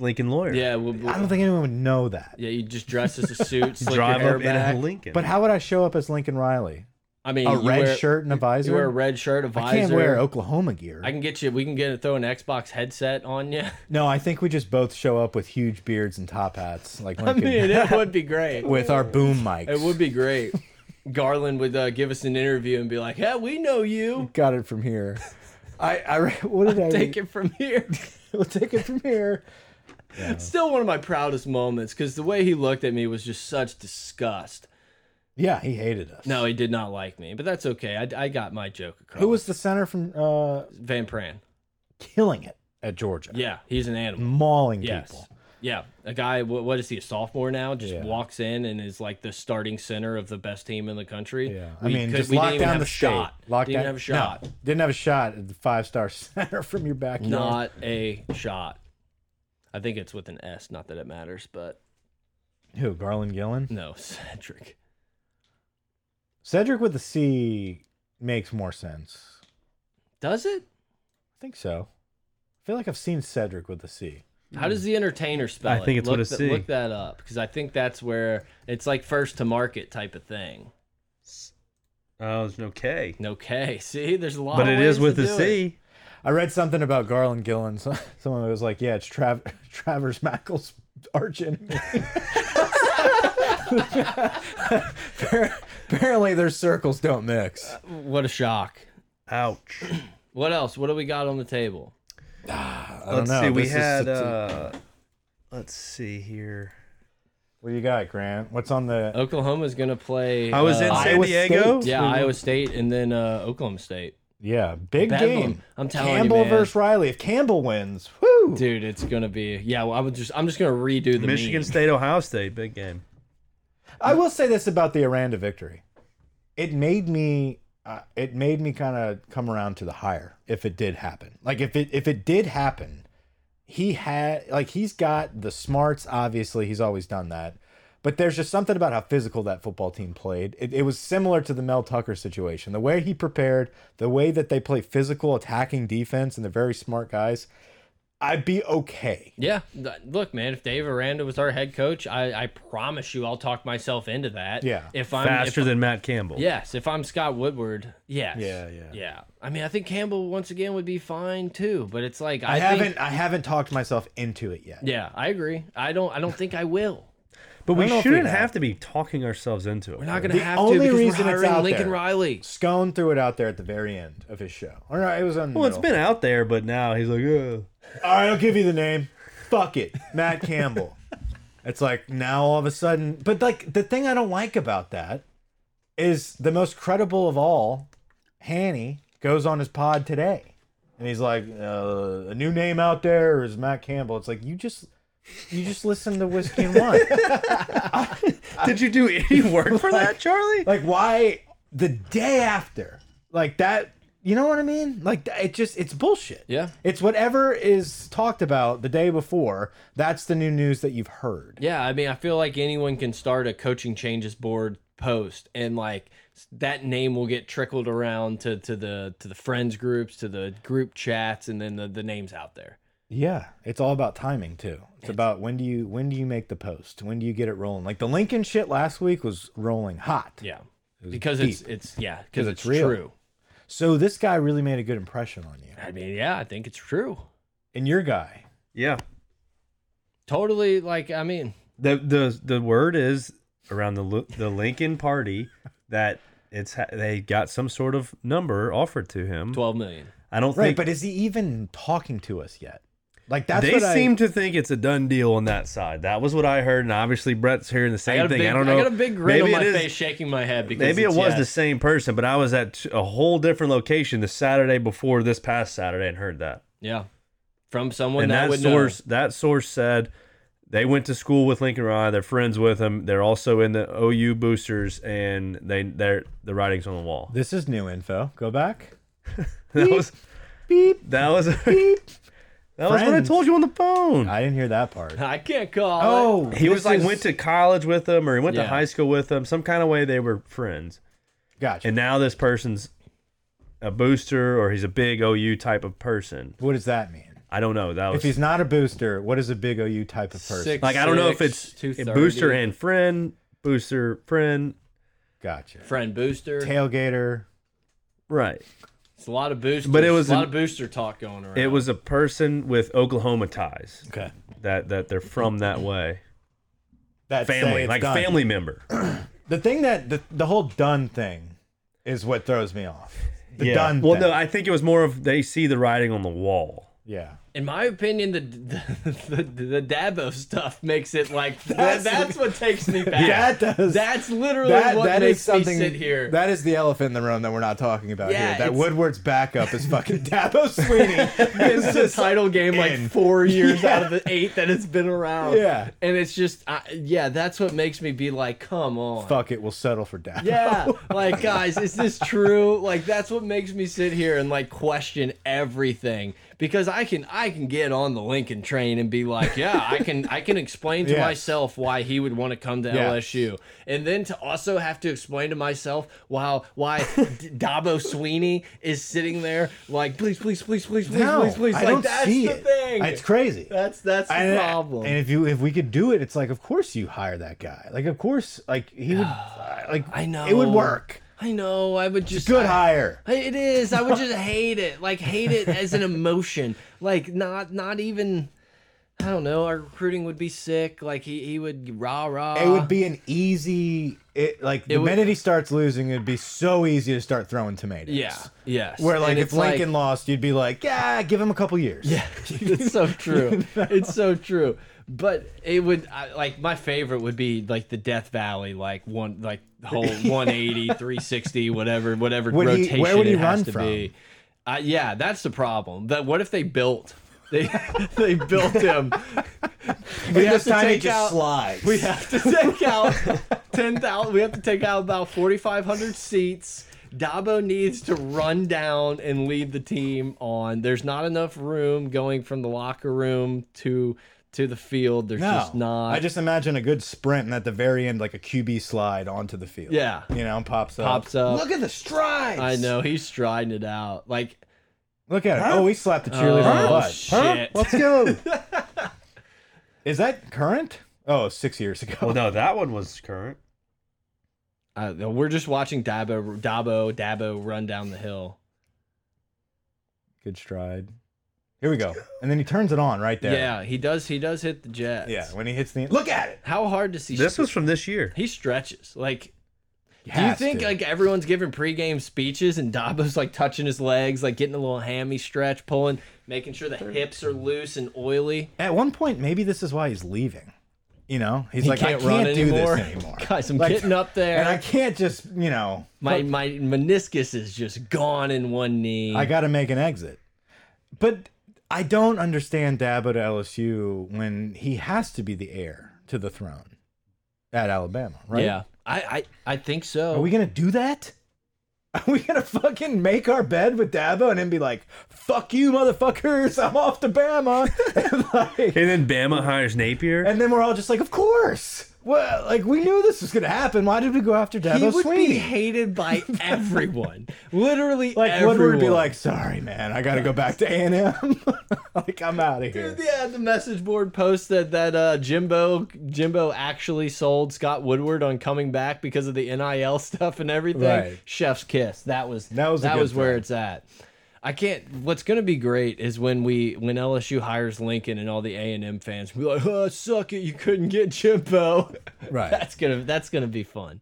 [SPEAKER 3] Lincoln lawyer?
[SPEAKER 2] yeah we'll,
[SPEAKER 4] I don't think anyone would know that.
[SPEAKER 2] yeah you just dress as a suit slick
[SPEAKER 3] drive
[SPEAKER 2] your hair
[SPEAKER 3] up
[SPEAKER 2] back.
[SPEAKER 3] in a Lincoln.
[SPEAKER 4] But how would I show up as Lincoln Riley?
[SPEAKER 2] I mean
[SPEAKER 4] A
[SPEAKER 2] you
[SPEAKER 4] red
[SPEAKER 2] wear-
[SPEAKER 4] shirt and a visor?
[SPEAKER 2] you wear a red shirt a visor
[SPEAKER 4] I can't wear Oklahoma gear.
[SPEAKER 2] I can get you we can get throw an Xbox headset on you
[SPEAKER 4] no, I think we just both show up with huge beards and top hats like
[SPEAKER 2] I
[SPEAKER 4] Lincoln
[SPEAKER 2] mean it would be great
[SPEAKER 4] with our boom mics.
[SPEAKER 2] It would be great. Garland would uh, give us an interview and be like, "Yeah, we know you.
[SPEAKER 4] Got it from here. I, I re- what did I
[SPEAKER 2] Take it from here."
[SPEAKER 4] We'll take it from here.
[SPEAKER 2] Still one of my proudest moments because the way he looked at me was just such disgust.
[SPEAKER 4] Yeah, he hated us.
[SPEAKER 2] No, he did not like me, but that's okay. I, I got my joke across.
[SPEAKER 4] Who was the center from uh,
[SPEAKER 2] Van Pran?
[SPEAKER 4] killing it at Georgia?
[SPEAKER 2] Yeah, he's an animal.
[SPEAKER 4] Mauling
[SPEAKER 2] Yes.
[SPEAKER 4] Mm, people.
[SPEAKER 2] Yeah, a guy. What, what is he? A sophomore now? Just
[SPEAKER 4] Yeah.
[SPEAKER 2] walks in and is like the starting center of the best team in the country.
[SPEAKER 4] Yeah, I
[SPEAKER 2] We
[SPEAKER 4] mean,
[SPEAKER 2] could-
[SPEAKER 4] just
[SPEAKER 2] we
[SPEAKER 4] lock
[SPEAKER 2] didn't even
[SPEAKER 4] down
[SPEAKER 2] have
[SPEAKER 4] the
[SPEAKER 2] a shot.
[SPEAKER 4] state. Lock
[SPEAKER 2] didn't
[SPEAKER 4] down,
[SPEAKER 2] even have a shot.
[SPEAKER 4] No, didn't have a shot at the five star center from your backyard.
[SPEAKER 2] Not a shot. I think it's with an S. Not that it matters, but
[SPEAKER 4] Who? Garland Gillen?
[SPEAKER 2] No, Cedric.
[SPEAKER 4] Cedric with the C makes more sense.
[SPEAKER 2] Does it?
[SPEAKER 4] I think so. I feel like I've seen Cedric with the C.
[SPEAKER 2] How does the entertainer spell
[SPEAKER 3] I
[SPEAKER 2] it?
[SPEAKER 3] think it's
[SPEAKER 2] look
[SPEAKER 3] with a
[SPEAKER 2] th-
[SPEAKER 3] C.
[SPEAKER 2] Look that up because I think that's where it's like first to market type of thing.
[SPEAKER 3] Oh, there's no K.
[SPEAKER 2] Okay, see, there's a lot.
[SPEAKER 3] But
[SPEAKER 2] of
[SPEAKER 3] it is
[SPEAKER 2] ways
[SPEAKER 3] with
[SPEAKER 2] Oh, to
[SPEAKER 3] a
[SPEAKER 2] do it.
[SPEAKER 3] C.
[SPEAKER 4] I read something about Garland Gillen. So, someone was like, "Yeah, it's Trav Travers Mackle's arch enemy." Apparently, their circles don't mix.
[SPEAKER 3] Uh,
[SPEAKER 2] What a shock!
[SPEAKER 3] Ouch.
[SPEAKER 2] What else? What do we got on the table?
[SPEAKER 4] I don't
[SPEAKER 3] Let's
[SPEAKER 4] know.
[SPEAKER 3] see. We
[SPEAKER 4] This is
[SPEAKER 3] had.
[SPEAKER 4] such a-
[SPEAKER 3] Uh, let's see here.
[SPEAKER 4] what do you got, Grant? What's on the?
[SPEAKER 3] Oh,
[SPEAKER 2] Oklahoma's gonna play.
[SPEAKER 3] I was
[SPEAKER 2] uh,
[SPEAKER 3] in
[SPEAKER 4] Iowa
[SPEAKER 3] San Diego.
[SPEAKER 4] State.
[SPEAKER 2] yeah Iowa State and then uh, Oklahoma State.
[SPEAKER 4] Yeah, big
[SPEAKER 2] Bedlam.
[SPEAKER 4] game.
[SPEAKER 2] I'm telling you,
[SPEAKER 4] Campbell
[SPEAKER 2] man.
[SPEAKER 4] versus Riley. If Campbell wins, whoo!
[SPEAKER 2] Dude, it's gonna be yeah. Well, I would just I'm just gonna redo the
[SPEAKER 3] Michigan
[SPEAKER 2] meme.
[SPEAKER 3] State, Ohio State, big game.
[SPEAKER 4] I will say this about the Aranda victory. It made me uh, it made me kind of come around to the hire if it did happen. Like if it if it did happen, he had like he's got the smarts obviously, he's always done that. But there's just something about how physical that football team played. It, it was similar to the Mel Tucker situation. The way he prepared, the way that they play physical attacking defense, and they're very smart guys. I'd be okay.
[SPEAKER 2] Yeah, th- look, man. If Dave Aranda was our head coach, I, I promise you, I'll talk myself into that.
[SPEAKER 4] Yeah.
[SPEAKER 2] If I'm
[SPEAKER 3] Faster
[SPEAKER 2] if,
[SPEAKER 3] than Matt Campbell.
[SPEAKER 2] yes, if I'm Scott Woodward, yes.
[SPEAKER 4] Yeah, yeah.
[SPEAKER 2] yeah. I mean, I think Campbell once again would be fine too. But it's like I,
[SPEAKER 4] I,
[SPEAKER 2] think-
[SPEAKER 4] haven't I haven't talked myself into it yet.
[SPEAKER 2] yeah, I agree. I don't. I don't think I will.
[SPEAKER 3] But we
[SPEAKER 4] don't know if we
[SPEAKER 3] shouldn't
[SPEAKER 4] have.
[SPEAKER 3] have to be talking ourselves into it.
[SPEAKER 2] We're not gonna
[SPEAKER 4] The
[SPEAKER 2] have
[SPEAKER 4] only
[SPEAKER 2] to because
[SPEAKER 4] reason
[SPEAKER 2] we're
[SPEAKER 4] it's
[SPEAKER 2] hiring
[SPEAKER 4] out
[SPEAKER 2] Lincoln
[SPEAKER 4] there-
[SPEAKER 2] Riley.
[SPEAKER 4] Scone threw it out there at the very end of his show. Or no, it was on. the
[SPEAKER 3] Well, it's
[SPEAKER 4] middle.
[SPEAKER 3] been out there, but now he's like, Ugh.
[SPEAKER 4] All right, I'll give you the name. Fuck it, Matt Campbell. it's like now all of a sudden, but like the thing I don't like about that is the most credible of all, Hanny goes on his pod today, and he's like, uh, a new name out there is Matt Campbell. It's like you just. You just listen to Whiskey and Wine.
[SPEAKER 3] Did you do any work for that, Charlie?
[SPEAKER 4] like why the day after like that you know what i mean like th- it just it's bullshit
[SPEAKER 2] Yeah.
[SPEAKER 4] it's whatever is talked about the day before that's the new news that you've heard
[SPEAKER 2] Yeah, I mean, I feel like anyone can start a coaching changes board post, and like that name will get trickled around to to the to the friends groups, to the group chats, and then the, the names out there.
[SPEAKER 4] yeah it's all about timing too it's, about when do you when do you make the post when do you get it rolling like the lincoln shit last week was rolling hot
[SPEAKER 2] Yeah, because it's it's yeah because
[SPEAKER 4] 'Cause
[SPEAKER 2] it's,
[SPEAKER 4] it's real.
[SPEAKER 2] true.
[SPEAKER 4] so this guy really made a good impression on you
[SPEAKER 2] I mean, yeah, I think it's true.
[SPEAKER 4] and your guy
[SPEAKER 3] Yeah.
[SPEAKER 2] Totally, like I mean,
[SPEAKER 3] The the the word is around the Lu- the Lincoln Party that it's ha they got some sort of number offered to him.
[SPEAKER 2] twelve million.
[SPEAKER 3] I don't
[SPEAKER 4] right
[SPEAKER 3] think
[SPEAKER 4] but is he even talking to us yet like that's
[SPEAKER 3] they
[SPEAKER 4] what I-
[SPEAKER 3] seem to think it's a done deal on that side. That was what I heard, and obviously Brett's hearing
[SPEAKER 2] I
[SPEAKER 3] the same
[SPEAKER 2] got a
[SPEAKER 3] thing.
[SPEAKER 2] big,
[SPEAKER 3] I don't know.
[SPEAKER 2] got a big grin on
[SPEAKER 3] Maybe
[SPEAKER 2] my
[SPEAKER 3] it is-
[SPEAKER 2] face, shaking my head because
[SPEAKER 3] Maybe it
[SPEAKER 2] it's-
[SPEAKER 3] was
[SPEAKER 2] yeah.
[SPEAKER 3] the same person, but I was at a whole different location the Saturday before this past Saturday and heard that.
[SPEAKER 2] yeah from someone
[SPEAKER 3] and
[SPEAKER 2] that,
[SPEAKER 3] that,
[SPEAKER 2] would
[SPEAKER 3] source that source said they went to school with Lincoln Riley. They're friends with him. They're also in the OU boosters, and they they're the writing's on the wall.
[SPEAKER 4] this is new info go back
[SPEAKER 3] That was
[SPEAKER 4] beep
[SPEAKER 3] that was that was what I
[SPEAKER 4] Friends.
[SPEAKER 3] told you on the phone.
[SPEAKER 4] i didn't hear that part
[SPEAKER 2] know. I can't call. it.
[SPEAKER 4] Oh,
[SPEAKER 3] he was
[SPEAKER 4] this
[SPEAKER 3] like
[SPEAKER 4] is-
[SPEAKER 3] went to college with them, or he went
[SPEAKER 2] Yeah.
[SPEAKER 3] to high school with them. Some kind of way they were friends,
[SPEAKER 4] Gotcha.
[SPEAKER 3] and now this person's a booster, or he's a big OU type of person.
[SPEAKER 4] what does that mean?
[SPEAKER 3] I don't know. That was
[SPEAKER 4] If he's not a booster, what is a big OU type of person?
[SPEAKER 2] Six.
[SPEAKER 3] like I don't know if
[SPEAKER 2] Six,
[SPEAKER 3] it's
[SPEAKER 2] two
[SPEAKER 3] booster
[SPEAKER 2] thirty.
[SPEAKER 3] and friend, booster friend,
[SPEAKER 4] Gotcha.
[SPEAKER 2] friend booster.
[SPEAKER 4] Tailgater.
[SPEAKER 3] right?
[SPEAKER 2] It's a lot of boosters.
[SPEAKER 3] But it was
[SPEAKER 2] a lot
[SPEAKER 3] an-
[SPEAKER 2] of booster talk going around.
[SPEAKER 3] It was a person with Oklahoma ties
[SPEAKER 4] Okay.
[SPEAKER 3] that that they're from that way.
[SPEAKER 4] That say
[SPEAKER 3] Family,
[SPEAKER 4] it's
[SPEAKER 3] like
[SPEAKER 4] done.
[SPEAKER 3] family member.
[SPEAKER 4] The thing that the, the whole done thing is what throws me off. The
[SPEAKER 3] yeah.
[SPEAKER 4] done.
[SPEAKER 3] well,
[SPEAKER 4] thing.
[SPEAKER 3] no, I think it was more of they see the writing on the wall.
[SPEAKER 4] yeah.
[SPEAKER 2] in my opinion, the the, the, the Dabo stuff makes it like
[SPEAKER 4] That's-
[SPEAKER 2] that's, that's what takes me back.
[SPEAKER 4] That does.
[SPEAKER 2] that's literally
[SPEAKER 4] that,
[SPEAKER 2] what
[SPEAKER 4] that
[SPEAKER 2] makes
[SPEAKER 4] is something
[SPEAKER 2] me sit here.
[SPEAKER 4] that is the elephant in the room that we're not talking about
[SPEAKER 2] Yeah,
[SPEAKER 4] here. That
[SPEAKER 2] it's-
[SPEAKER 4] Woodward's backup is fucking Dabo Sweeney.
[SPEAKER 2] This is a title game like
[SPEAKER 4] in.
[SPEAKER 2] four years
[SPEAKER 4] Yeah.
[SPEAKER 2] out of the eight that it's been around.
[SPEAKER 4] Yeah.
[SPEAKER 2] and it's just I, yeah, that's what makes me be like, come on.
[SPEAKER 4] Fuck it, we'll settle for Dabo.
[SPEAKER 2] Yeah,
[SPEAKER 4] Oh
[SPEAKER 2] like guys, is this true? Like that's what makes me sit here and like question everything because I can I can get on the Lincoln train and be like, yeah, I can I can explain to
[SPEAKER 4] Yeah.
[SPEAKER 2] myself why he would want to come to
[SPEAKER 4] Yeah.
[SPEAKER 2] LSU, and then to also have to explain to myself why why D- Dabo Sweeney is sitting there like, please, please, please, please, please,
[SPEAKER 4] No,
[SPEAKER 2] please, please,
[SPEAKER 4] I
[SPEAKER 2] like
[SPEAKER 4] don't
[SPEAKER 2] that's
[SPEAKER 4] see
[SPEAKER 2] the
[SPEAKER 4] it.
[SPEAKER 2] thing.
[SPEAKER 4] It's crazy.
[SPEAKER 2] That's that's the
[SPEAKER 4] and,
[SPEAKER 2] problem.
[SPEAKER 4] And if you if we could do it, it's like of course you hire that guy. Like of course, like he would. like
[SPEAKER 2] I know
[SPEAKER 4] it would work.
[SPEAKER 2] I know. I would just
[SPEAKER 4] Good
[SPEAKER 2] I-
[SPEAKER 4] hire.
[SPEAKER 2] It is. I would just hate it. Like hate it as an emotion. Like not not even. I don't know. Our recruiting would be sick. Like he he would rah rah.
[SPEAKER 4] It would be an easy. It like the
[SPEAKER 2] Uh. would-
[SPEAKER 4] minute he starts losing, it'd be so easy to start throwing tomatoes.
[SPEAKER 2] Yeah. Yes.
[SPEAKER 4] Where like
[SPEAKER 2] And
[SPEAKER 4] if
[SPEAKER 2] it's like-
[SPEAKER 4] Lincoln lost, you'd be like, yeah, give him a couple years.
[SPEAKER 2] Yeah, it's so true. It's so true. But it would I, like my favorite would be like the Death Valley, like one like whole 180, 360, whatever, whatever
[SPEAKER 4] Would he-
[SPEAKER 2] rotation
[SPEAKER 4] where would he
[SPEAKER 2] it has
[SPEAKER 4] run
[SPEAKER 2] to
[SPEAKER 4] from?
[SPEAKER 2] be. Uh, yeah, that's the problem. That what if they built they they built him? we
[SPEAKER 4] this time he
[SPEAKER 2] take
[SPEAKER 4] just
[SPEAKER 2] out-
[SPEAKER 4] slides.
[SPEAKER 2] We have to take out ten thousand. We have to take out about forty five hundred seats. Dabo needs to run down and lead the team on. There's not enough room going from the locker room to to the field. There's
[SPEAKER 4] no,
[SPEAKER 2] just not.
[SPEAKER 4] I just imagine a good sprint, and at the very end, like a QB slide onto the field.
[SPEAKER 2] Yeah.
[SPEAKER 4] you know, pops up.
[SPEAKER 2] Pops up.
[SPEAKER 4] Look at the strides.
[SPEAKER 2] I know he's striding it out. Like
[SPEAKER 4] Look at it. Oh, we slapped the cheerleader. in the
[SPEAKER 2] oh
[SPEAKER 4] butt.
[SPEAKER 2] shit.
[SPEAKER 3] Let's go.
[SPEAKER 4] Is that current? Oh, six years ago.
[SPEAKER 3] well, no, that one was current.
[SPEAKER 2] I don't know. we're just watching Dabo Dabo Dabo run down the hill.
[SPEAKER 4] Good stride. Here we go. And then he turns it on right there.
[SPEAKER 2] Yeah, he does. He does hit the Jets.
[SPEAKER 4] Yeah. When he hits the look at it.
[SPEAKER 2] How hard does he?
[SPEAKER 3] This was from this year.
[SPEAKER 2] he stretches like
[SPEAKER 4] He
[SPEAKER 2] Do you
[SPEAKER 4] has
[SPEAKER 2] think
[SPEAKER 4] to.
[SPEAKER 2] like everyone's giving pregame speeches and Dabo's like touching his legs, like getting a little hammy stretch, pulling, making sure the hips are loose and oily?
[SPEAKER 4] at one point maybe this is why he's leaving? You know, he's
[SPEAKER 2] He
[SPEAKER 4] like,
[SPEAKER 2] can't
[SPEAKER 4] I
[SPEAKER 2] run
[SPEAKER 4] can't do
[SPEAKER 2] anymore.
[SPEAKER 4] this anymore.
[SPEAKER 2] Guys, I'm
[SPEAKER 4] Like,
[SPEAKER 2] getting up there.
[SPEAKER 4] and I can't just you know.
[SPEAKER 2] my my meniscus is just gone in one knee.
[SPEAKER 4] I got to make an exit. But I don't understand Dabo to LSU when he has to be the heir to the throne at Alabama, right?
[SPEAKER 2] Yeah, I I, I think
[SPEAKER 4] Are
[SPEAKER 2] so.
[SPEAKER 4] we gonna do that? Are we gonna fucking make our bed with Dabo and then be like, "Fuck you, motherfuckers! I'm off to Bama," and, like,
[SPEAKER 3] And then Bama hires Napier.
[SPEAKER 4] and then we're all just like, "Of course." Well, like we knew this was gonna happen. Why did we go after
[SPEAKER 2] he
[SPEAKER 4] Dabo
[SPEAKER 2] would be
[SPEAKER 4] Sweeney?
[SPEAKER 2] hated by everyone, literally.
[SPEAKER 4] Like
[SPEAKER 2] everyone.
[SPEAKER 4] Woodward would be like, "Sorry, man, I gotta go back to A and M. like I'm out of here."
[SPEAKER 2] Yeah, the message board post that that uh, Jimbo Jimbo actually sold Scott Woodward on coming back because of the NIL stuff and everything.
[SPEAKER 4] Right.
[SPEAKER 2] Chef's kiss. That was
[SPEAKER 4] That was a good
[SPEAKER 2] where
[SPEAKER 4] thing.
[SPEAKER 2] it's at. I can't. What's gonna be great is when we when LSU hires Lincoln and all the A and M fans will be like, "Oh, suck it! You couldn't get Jimbo."
[SPEAKER 4] Right.
[SPEAKER 2] That's gonna that's gonna be fun.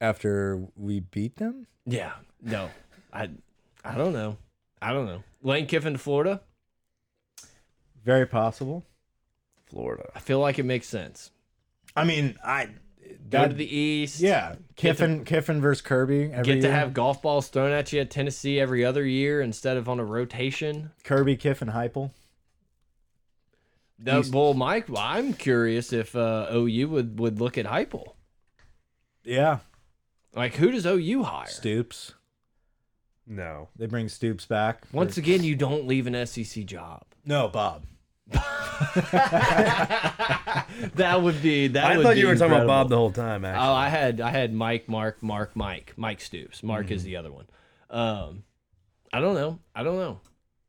[SPEAKER 4] After we beat them,
[SPEAKER 2] Yeah. No. I I don't know. I don't know. Lane Kiffin to Florida.
[SPEAKER 4] very possible.
[SPEAKER 3] Florida.
[SPEAKER 2] I feel like it makes sense.
[SPEAKER 4] I mean, I
[SPEAKER 2] Go to
[SPEAKER 4] that-
[SPEAKER 2] the East.
[SPEAKER 4] yeah, Kiffin Kiffin versus Kirby. Every
[SPEAKER 2] get to
[SPEAKER 4] year.
[SPEAKER 2] have golf balls thrown at you at Tennessee every other year instead of on a rotation.
[SPEAKER 4] Kirby, Kiffin, Heupel.
[SPEAKER 2] No,
[SPEAKER 4] He's-
[SPEAKER 2] well, Mike, I'm curious if uh, OU would would look at Heupel.
[SPEAKER 4] Yeah,
[SPEAKER 2] Like, who does OU hire?
[SPEAKER 4] Stoops.
[SPEAKER 3] No.
[SPEAKER 4] They bring Stoops back.
[SPEAKER 2] Once again, you don't leave an SEC job.
[SPEAKER 4] no, Bob.
[SPEAKER 2] That would be that.
[SPEAKER 3] I
[SPEAKER 2] would
[SPEAKER 3] thought
[SPEAKER 2] be
[SPEAKER 3] you were talking about
[SPEAKER 2] incredible.
[SPEAKER 3] Bob the whole time, actually.
[SPEAKER 2] Oh, I had I had Mike, Mark, Mark, Mike, Mike Stoops. Mark
[SPEAKER 4] Mm-hmm.
[SPEAKER 2] is the other one. Um, I don't know. I don't know.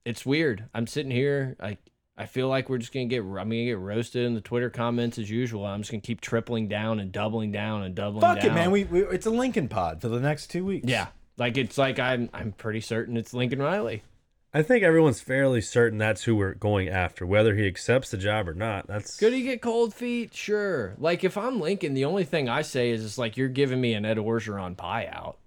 [SPEAKER 2] It's weird. I'm sitting here. I I feel like we're just gonna get. I'm gonna get roasted in the Twitter comments as usual. I'm just gonna keep tripling down and doubling down and doubling.
[SPEAKER 4] Fuck
[SPEAKER 2] down.
[SPEAKER 4] it, man. We, we it's a Lincoln pod for the next two weeks.
[SPEAKER 2] yeah. Like it's like I'm I'm pretty certain it's Lincoln Riley.
[SPEAKER 3] I think everyone's fairly certain that's who we're going after, whether he accepts the job or not. That's
[SPEAKER 2] Could he get cold feet? Sure. Like if I'm Lincoln, the only thing I say is it's like you're giving me an Ed Orgeron buyout.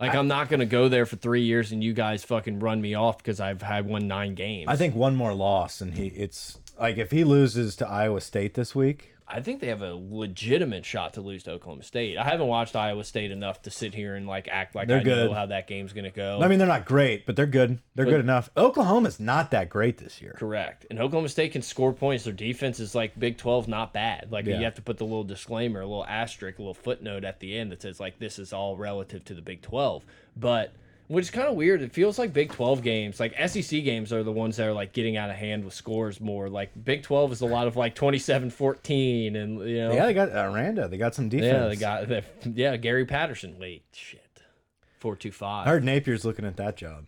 [SPEAKER 2] Like I, am not gonna go there for three years and you guys fucking run me off because I've had won nine games.
[SPEAKER 4] I think one more loss, and he it's like if he loses to Iowa State this week,
[SPEAKER 2] I think they have a legitimate shot to lose to Oklahoma State. I haven't watched Iowa State enough to sit here and like act like
[SPEAKER 4] They're
[SPEAKER 2] I
[SPEAKER 4] good.
[SPEAKER 2] know how that game's gonna go.
[SPEAKER 4] I mean they're not great, but they're good. They're good enough. Oklahoma's not that great this year.
[SPEAKER 2] Correct. And Oklahoma State can score points. Their defense is like Big 12, not bad. Like
[SPEAKER 4] Yeah.
[SPEAKER 2] you have to put the little disclaimer, a little asterisk, a little footnote at the end that says like this is all relative to the Big 12. But which is kind of weird. It feels like Big 12 games, like SEC games, are the ones that are like getting out of hand with scores more. Like Big 12 is a lot of like 27 14, and you know,
[SPEAKER 4] Yeah, they got Aranda. They got some defense.
[SPEAKER 2] yeah, they got they, yeah, Gary Patterson league. Shit. 425.
[SPEAKER 4] I heard Napier's looking at that job.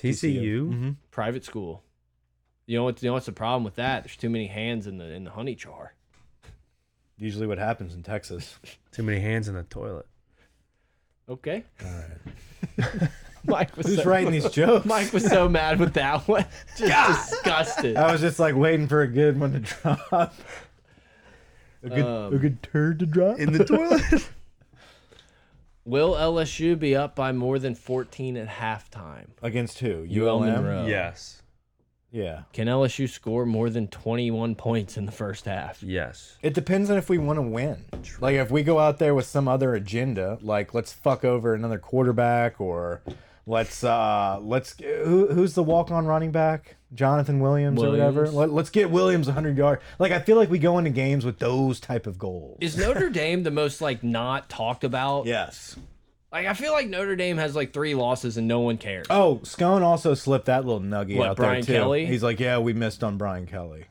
[SPEAKER 3] TCU. Mm
[SPEAKER 2] private school. You know what? You know what's the problem with that? There's too many hands in the in the honey jar.
[SPEAKER 4] Usually, what happens in Texas?
[SPEAKER 3] Too many hands in the toilet.
[SPEAKER 2] Okay. Mike was
[SPEAKER 4] Who's
[SPEAKER 2] so,
[SPEAKER 4] writing these jokes?
[SPEAKER 2] Mike was so mad with that one. Just disgusted.
[SPEAKER 4] I was just like waiting for a good one to drop. A good, a good turd to drop.
[SPEAKER 3] In the toilet.
[SPEAKER 2] Will LSU be up by more than 14 at halftime?
[SPEAKER 4] Against who?
[SPEAKER 2] UL Monroe.
[SPEAKER 3] yes.
[SPEAKER 4] Yeah.
[SPEAKER 2] Can LSU score more than 21 points in the first half?
[SPEAKER 3] Yes.
[SPEAKER 4] It depends on if we want to win. Like if we go out there with some other agenda, like let's fuck over another quarterback or let's uh let's who, who's the walk on running back? Jonathan Williams, or whatever.
[SPEAKER 2] Williams.
[SPEAKER 4] Let, let's get Williams 100 yard. Like I feel like we go into games with those type of goals.
[SPEAKER 2] Is Notre Dame the most like not talked about?
[SPEAKER 4] yes.
[SPEAKER 2] Like I feel like Notre Dame has like three losses and no one cares.
[SPEAKER 4] Oh, Scone also slipped that little nugget
[SPEAKER 2] What,
[SPEAKER 4] out
[SPEAKER 2] Brian
[SPEAKER 4] there too.
[SPEAKER 2] Kelly?
[SPEAKER 4] He's like, yeah, we missed on Brian Kelly.